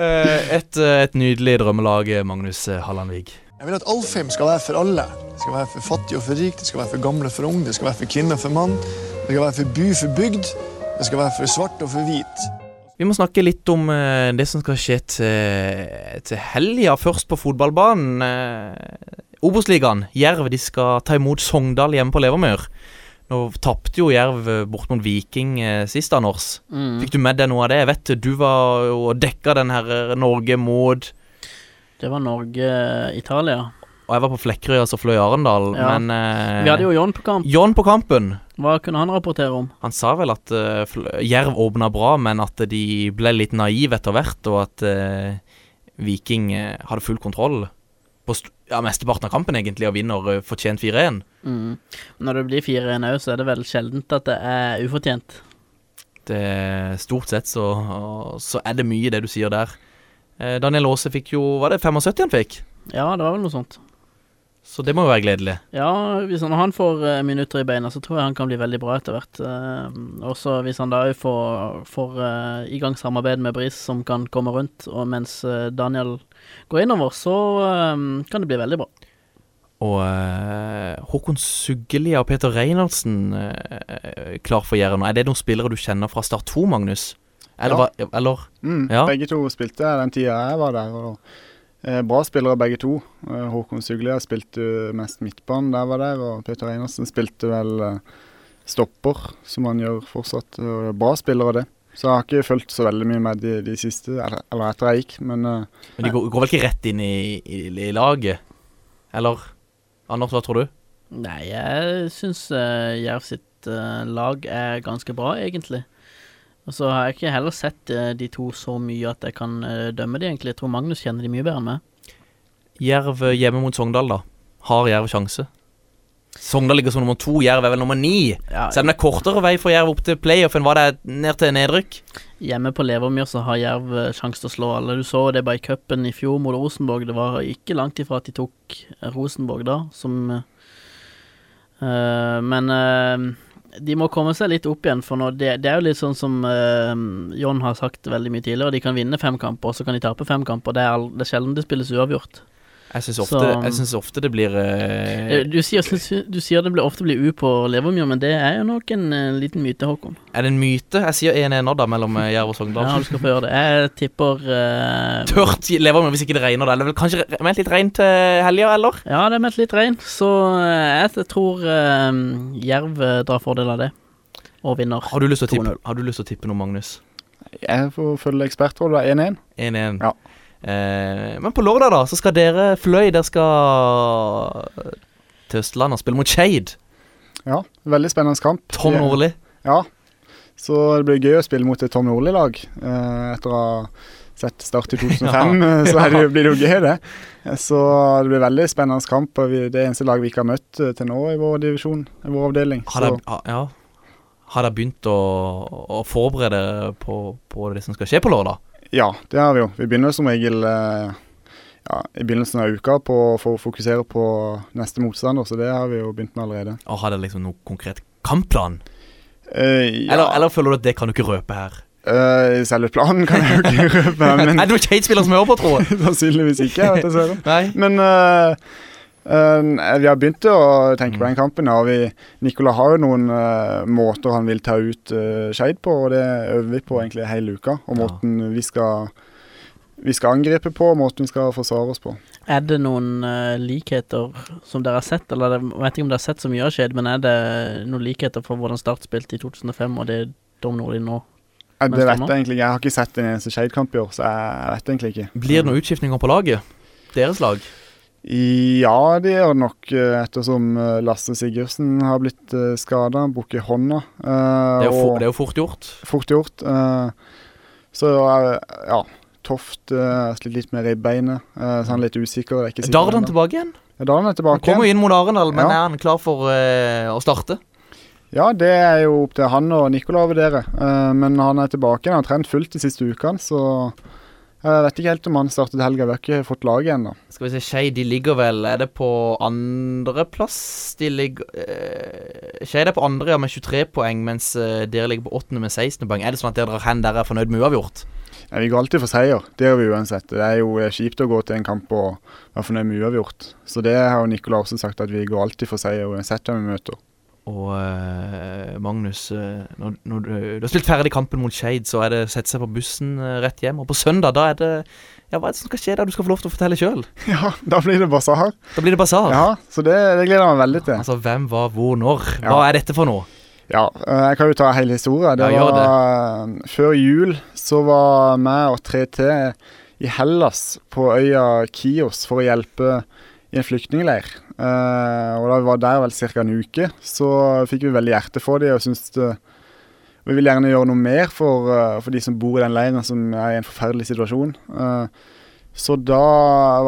Speaker 4: Eh, et, eh, et nydelig drømmelag, eh, Magnus eh, Hallandvig.
Speaker 11: Jeg vil at all film skal være for alle. Det skal være for fattig og for rik, det skal være for gamle og for unge, det skal være for kvinne og for mann, det skal være for by og for bygd, det skal være for svart og for hvit.
Speaker 4: Vi må snakke litt om eh, det som skal skje til, til helga, først på fotballbanen. Eh, Obos-ligaen, Jerv, de skal ta imot Sogndal hjemme på Levermyr. Nå tapte jo Jerv eh, bort mot Viking eh, sist, Anders.
Speaker 5: Mm.
Speaker 4: Fikk du med deg noe av det? Jeg vet du var jo og dekka den her eh, Norge mot
Speaker 5: Det var eh, Norge-Italia.
Speaker 4: Og jeg var på Flekkerøy, altså fløy Arendal,
Speaker 5: Ja.
Speaker 4: men eh,
Speaker 5: Vi hadde jo John på kamp.
Speaker 4: John på kampen.
Speaker 5: Hva kunne han rapportere om?
Speaker 4: Han sa vel at eh, fl- Jerv åpna bra, men at de ble litt naive etter hvert, og at eh, Viking eh, hadde full kontroll på st ja, mesteparten av kampen, egentlig, og vinner eh, fortjent 4-1.
Speaker 5: Mm. Når det blir 4-1 òg, så er det vel sjeldent at det er ufortjent.
Speaker 4: Det- Stort sett så, så er det mye i det du sier der. Eh, Daniel Aase fikk jo Var det 75 han fikk?
Speaker 5: Ja, det var vel noe sånt.
Speaker 4: Så det må jo være gledelig.
Speaker 5: Ja, hvis han, når han får eh, minutter i beina, så tror jeg han kan bli veldig bra etter hvert. Eh, også hvis han da òg får, får eh, i gang samarbeid med Bris, som kan komme rundt, og mens eh, Daniel går innover, så eh, kan det bli veldig bra.
Speaker 4: Og eh, Håkon Suggelia og Peter Reinertsen eh, klar for Jæren. Er det noen spillere du kjenner fra Start 2, Magnus? Eller?
Speaker 6: Ja.
Speaker 4: hva- eller?
Speaker 6: Mm,
Speaker 4: Ja.
Speaker 6: Begge to spilte den tida jeg var der. Og, eh, bra spillere begge to. Eh, Håkon Suglia spilte mest midtbane der jeg var der, og Peter Einersen spilte vel eh, stopper, som han gjør fortsatt. Og bra spillere, det. Så jeg har ikke fulgt så veldig mye med de, de siste, eller, eller etter jeg gikk, men eh,
Speaker 4: Men de går, går vel ikke rett inn i, i, i laget? Eller? Anders, hva tror du?
Speaker 5: Nei, jeg syns eh, Jerv sitt eh, lag er ganske bra, egentlig. Og så har jeg ikke heller sett eh, de to så mye at jeg kan eh, dømme de, egentlig. Jeg tror Magnus kjenner de mye bedre enn meg.
Speaker 4: Jerv eh, hjemme mot Sogndal, da. Har Jerv sjanse? Sogndal ligger som nummer to, Jerv er vel nummer ni.
Speaker 5: Ja,
Speaker 4: Selv om det er kortere vei for Jerv opp til playoff enn hva det er ned til nedrykk.
Speaker 5: Hjemme på Levermyr så har Jerv eh, sjanse til å slå alle. Du så det bare i cupen i fjor mot Rosenborg. Det var ikke langt ifra at de tok Rosenborg da, som eh, Eh, men eh, de må komme seg litt opp igjen, for nå, det, det er jo litt sånn som eh, John har sagt veldig mye tidligere. De kan vinne fem kamper, og så kan de tape fem kamper. Det er, all- det er sjelden det spilles uavgjort.
Speaker 4: Jeg syns
Speaker 5: Så,
Speaker 4: ofte, jeg synes ofte det blir eh,
Speaker 5: eh, Du sier, du sier det blir ofte blir U på Levermyr, men det er jo nok en eh, liten myte, Håkon.
Speaker 4: Er det en myte? Jeg sier 1-1 nå, da, mellom eh, Jerv og Sogndal.
Speaker 5: Ja, du skal få gjøre det. Jeg tipper eh,
Speaker 4: Tørt levermel hvis ikke det regner, da. Eller vel kanskje re- meldt litt regn til helga, eller?
Speaker 5: Ja, det er meldt litt regn, så eh, jeg tror eh, Jerv eh, drar fordel av det. Og vinner.
Speaker 4: Har du lyst til å tippe, har du lyst til å tippe noe, Magnus?
Speaker 6: Jeg får følge ekspertrådet, da. 1-1.
Speaker 4: 1-1. Eh, men på lørdag, da, så skal dere Fløy, dere skal eh, til Østlandet og spille mot Skeid.
Speaker 6: Ja, veldig spennende kamp.
Speaker 4: Tom
Speaker 6: De-
Speaker 4: Nordli.
Speaker 6: Ja, så det blir gøy å spille mot et Tom Nordli-lag. Eh, etter å ha sett Start i 2005,
Speaker 12: Ja,
Speaker 6: eh, så er det,
Speaker 12: ja.
Speaker 6: jo- blir det jo gøy, det. Eh, Så det blir veldig spennende kamp. og vi- Det er eneste lag vi ikke har møtt eh, til nå i vår divisjon, i vår avdeling.
Speaker 4: Har dere
Speaker 6: Så
Speaker 4: ha- ja. Har dere begynt å, å forberede på, på det som skal skje på lørdag?
Speaker 6: ja, det har vi jo. Vi begynner som regel eh, ja, i begynnelsen av uka på, for å fokusere på neste motstander, så det har vi jo begynt med allerede.
Speaker 4: Og har dere liksom noe konkret kampplan?
Speaker 6: Eh, ja.
Speaker 4: Eller, eller føler du at det kan du ikke røpe her?
Speaker 6: Eh, selve planen kan jeg jo ikke røpe, men
Speaker 4: Er det noen Shade-spillere som hører på, tro?
Speaker 6: Sannsynligvis ikke, jeg vet dessverre.
Speaker 4: Nei.
Speaker 6: Men eh, eh, vi har begynt å tenke
Speaker 4: Mm.
Speaker 6: på den kampen. Ja. og Vi, Nicola har jo noen eh, måter han vil ta ut uh, Skeid på, og det øver vi på egentlig hele uka. Og måten vi skal vi skal angripe på, og måten vi skal forsvare oss på.
Speaker 5: Er det noen eh, likheter som dere har sett, eller jeg vet ikke om dere har sett så mye av Skeid, men er det noen likheter for hvordan Start spilte i 2005, og det Tom Nordli nå?
Speaker 6: Eh,
Speaker 5: mens
Speaker 6: det
Speaker 5: de
Speaker 6: vet
Speaker 5: nå?
Speaker 6: jeg egentlig ikke. Jeg har ikke sett en eneste Skeid-kamp i år, så jeg vet egentlig ikke.
Speaker 4: Blir det noen utskiftninger på laget? Deres lag?
Speaker 6: Ja, det gjør det nok, eh, ettersom eh, Lasse Sigurdsen har blitt eh, skada, brukket hånda. eh,
Speaker 4: Det er, jo for,
Speaker 6: og-
Speaker 4: det er jo fort gjort.
Speaker 6: Fort gjort. eh, så eh, ja, Toft uh, slitt litt med ribbeinet, eh, så han er litt usikker. Det er ikke sikkert
Speaker 4: Dardan
Speaker 6: ennå.
Speaker 4: tilbake igjen?
Speaker 6: Ja, Dardan er
Speaker 4: Han
Speaker 6: tilbake
Speaker 4: kommer jo inn mot Arendal, men
Speaker 6: Ja.
Speaker 4: er han klar for eh, å starte?
Speaker 6: Ja, det er jo opp til han og Nicola å vurdere. eh, men han er tilbake. Han har trent fullt de siste ukene, så eh, jeg vet ikke helt om han startet helga. Vi har ikke fått laget ennå.
Speaker 4: Skal vi se, Skei de ligger vel Er det på andreplass? De ligger eh, Skei er på andre ja, med 23 poeng, mens eh, dere ligger på åttende med 16 poeng. Er det sånn at dere drar hen der er fornøyd med uavgjort?
Speaker 6: Ja, vi går alltid for seier, det gjør vi uansett. Det er jo eh, kjipt å gå til en kamp og være fornøyd med uavgjort. Så det har jo Nicola også sagt, at vi går alltid for seier uansett hvem vi møter.
Speaker 4: Og eh, Magnus, eh, når, når du, du har spilt ferdig kampen mot Skeid, så er det å sette seg på bussen eh, rett hjem. Og på søndag, da er det Ja, hva er det som skal skje der? Du skal få lov til å fortelle sjøl.
Speaker 6: Ja, da blir det basar.
Speaker 4: Da blir det basar.
Speaker 6: Ja, så det, det gleder jeg meg veldig til.
Speaker 4: Altså, hvem, hva, hvor, når?
Speaker 6: Ja.
Speaker 4: Hva er dette for noe?
Speaker 6: Ja, eh, jeg kan jo ta hele historien.
Speaker 4: Ja,
Speaker 6: Det
Speaker 4: gjør
Speaker 6: var eh, Før jul så var meg og 3T i Hellas på øya Kios for å hjelpe i en flyktningleir. Eh, og da vi var der vel ca. en uke, så fikk vi veldig hjerte for dem og syntes det vi vil gjerne gjøre noe mer for, eh, for de som bor i den leiren, som er i en forferdelig situasjon. Eh, Så da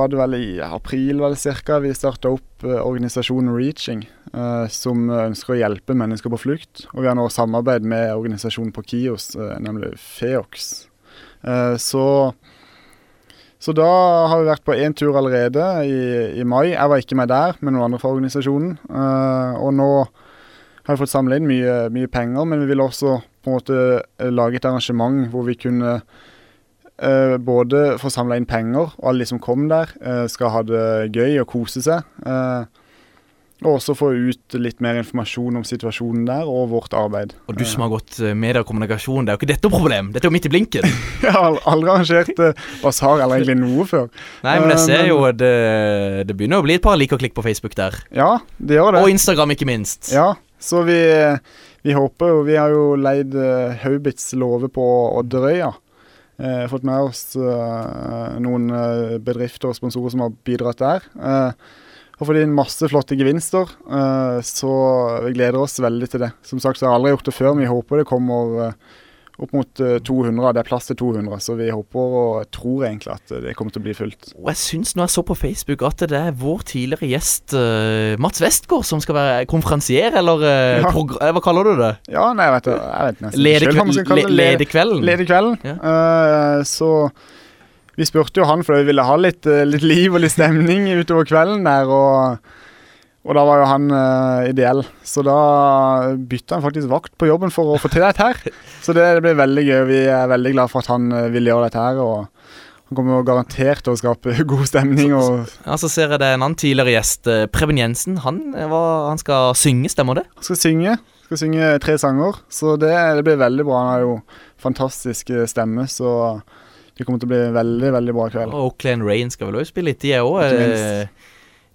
Speaker 6: var det vel i april var det cirka, vi starta opp eh, organisasjonen Reaching, eh, som ønsker å hjelpe mennesker på flukt. Og vi har nå samarbeid med organisasjonen på Kios, eh, nemlig Feox. Eh, Så så da har vi vært på én tur allerede i, i mai. Jeg var ikke med der, men noen andre fra organisasjonen. Eh, og nå har vi fått samla inn mye, mye penger, men vi ville også på en måte eh, lage et arrangement hvor vi kunne eh, både få samla inn penger, og alle de som kom der, eh, skal ha det gøy og kose seg. eh, og også få ut litt mer informasjon om situasjonen der og vårt arbeid.
Speaker 4: Og du som har gått eh, media og kommunikasjon, det er jo ikke dette noe problem. Dette er jo midt i blinken.
Speaker 6: Jeg har aldri arrangert eh, basar eller egentlig noe før.
Speaker 4: Nei, men jeg
Speaker 6: Eh,
Speaker 4: ser jo det, det begynner å bli et par lik og klikk på Facebook der.
Speaker 6: Ja, det gjør det.
Speaker 4: Og Instagram, ikke minst.
Speaker 6: Ja, så vi, vi håper jo Vi har jo leid eh, Haubits låve på Odderøya. Eh, fått med oss eh, noen eh, bedrifter og sponsorer som har bidratt der. Eh, og fått inn masse flotte gevinster, eh, så vi gleder oss veldig til det. Som sagt så har jeg aldri gjort det før, men vi håper det kommer eh, opp mot eh, 200. Det er plass til 200, så vi håper og tror egentlig at det kommer til å bli fullt.
Speaker 4: Og jeg syns når jeg så på Facebook at det er vår tidligere gjest eh, Mats Westgård som skal være konferansier, eller eh,
Speaker 6: Ja.
Speaker 4: progr- eh, Hva kaller du det?
Speaker 6: Ja, nei, jeg vet, det- jeg vet nesten
Speaker 4: Leder
Speaker 6: ikke selv hva man skal
Speaker 4: kve-
Speaker 6: kalle det.
Speaker 4: le- leder kvelden.
Speaker 6: Leder kvelden. Eh, så vi spurte jo han, for vi ville ha litt, eh, litt liv og litt stemning utover kvelden der. Og, Og da var jo han eh, ideell, så da bytta han faktisk vakt på jobben for å få til dette her. Så det, det blir veldig gøy. Vi er veldig glad for at han eh, vil gjøre dette her. og han kommer jo garantert til å skape god stemning. og
Speaker 4: Ja, Så ser jeg det en annen tidligere gjest, eh, Preben Jensen. Han, var, han skal synge, stemmer det?
Speaker 6: Han skal synge. Skal synge tre sanger, så det, det blir veldig bra. Han har jo fantastisk eh, stemme, så det kommer til å bli en veldig, veldig bra kveld.
Speaker 4: Og Oakland Rain skal vel også spille litt, de er
Speaker 6: Ikke
Speaker 4: òg
Speaker 6: minst.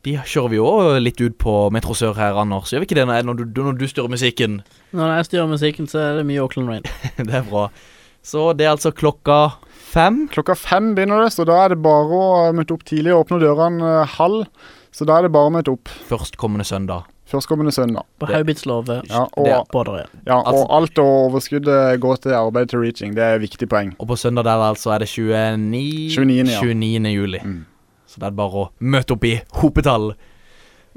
Speaker 4: De kjører vi òg litt ut på Metro Sør her, Anders. Gjør vi ikke det når, når, du, når du styrer musikken?
Speaker 5: Når jeg styrer musikken, så er det mye Auckland Rain.
Speaker 4: det er bra. Så det er altså klokka fem?
Speaker 6: Klokka fem begynner det, så da er det bare å møte opp tidlig. Åpner dørene eh, halv, så da er det bare å møte opp.
Speaker 4: Førstkommende søndag.
Speaker 6: Førstkommende søndag.
Speaker 5: På Haubits låve.
Speaker 6: Ja, og,
Speaker 5: Det er på dere.
Speaker 6: ja, og alt og overskuddet går til arbeidet til reaching. Det er et viktig poeng.
Speaker 4: Og på søndag der altså er det 29,
Speaker 6: 29., ja.
Speaker 4: 29. juli. Så det er bare å møte opp i hopetall.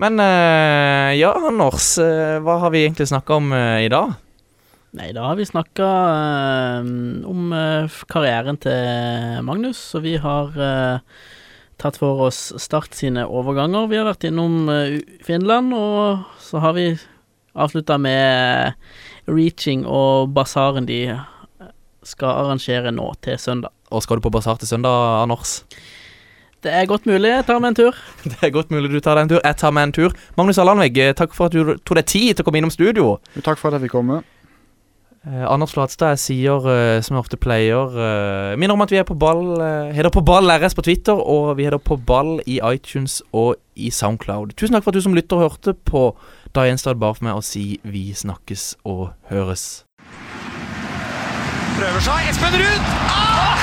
Speaker 4: Men eh, ja, Anders, eh, hva har vi egentlig snakka om eh, i dag?
Speaker 5: Nei, da har vi snakka om eh, f- karrieren til Magnus, og vi har eh, tatt for oss Start sine overganger. Vi har vært innom eh, U- Finland, og så har vi avslutta med reaching og basaren de skal arrangere nå til søndag.
Speaker 4: Og skal du på basar til søndag, Anders?
Speaker 5: Det er godt mulig jeg tar meg en tur.
Speaker 4: Det er godt mulig du tar deg en tur. Jeg tar meg en tur. Magnus Allanvegg, eh, takk for at du tok deg tid til å komme innom studio.
Speaker 6: Takk for at jeg fikk komme.
Speaker 4: Eh, Anders Flatstad, jeg sier eh, som jeg ofte pleier eh, Minner om at vi er på ball eh, heter på ball RS på Twitter, og vi heter på ball i iTunes og i Soundcloud. Tusen takk for at du som lytter hørte på. Da gjenstår det bare for meg å si vi snakkes og høres.
Speaker 10: Prøver seg. Espen Ruud! Ah!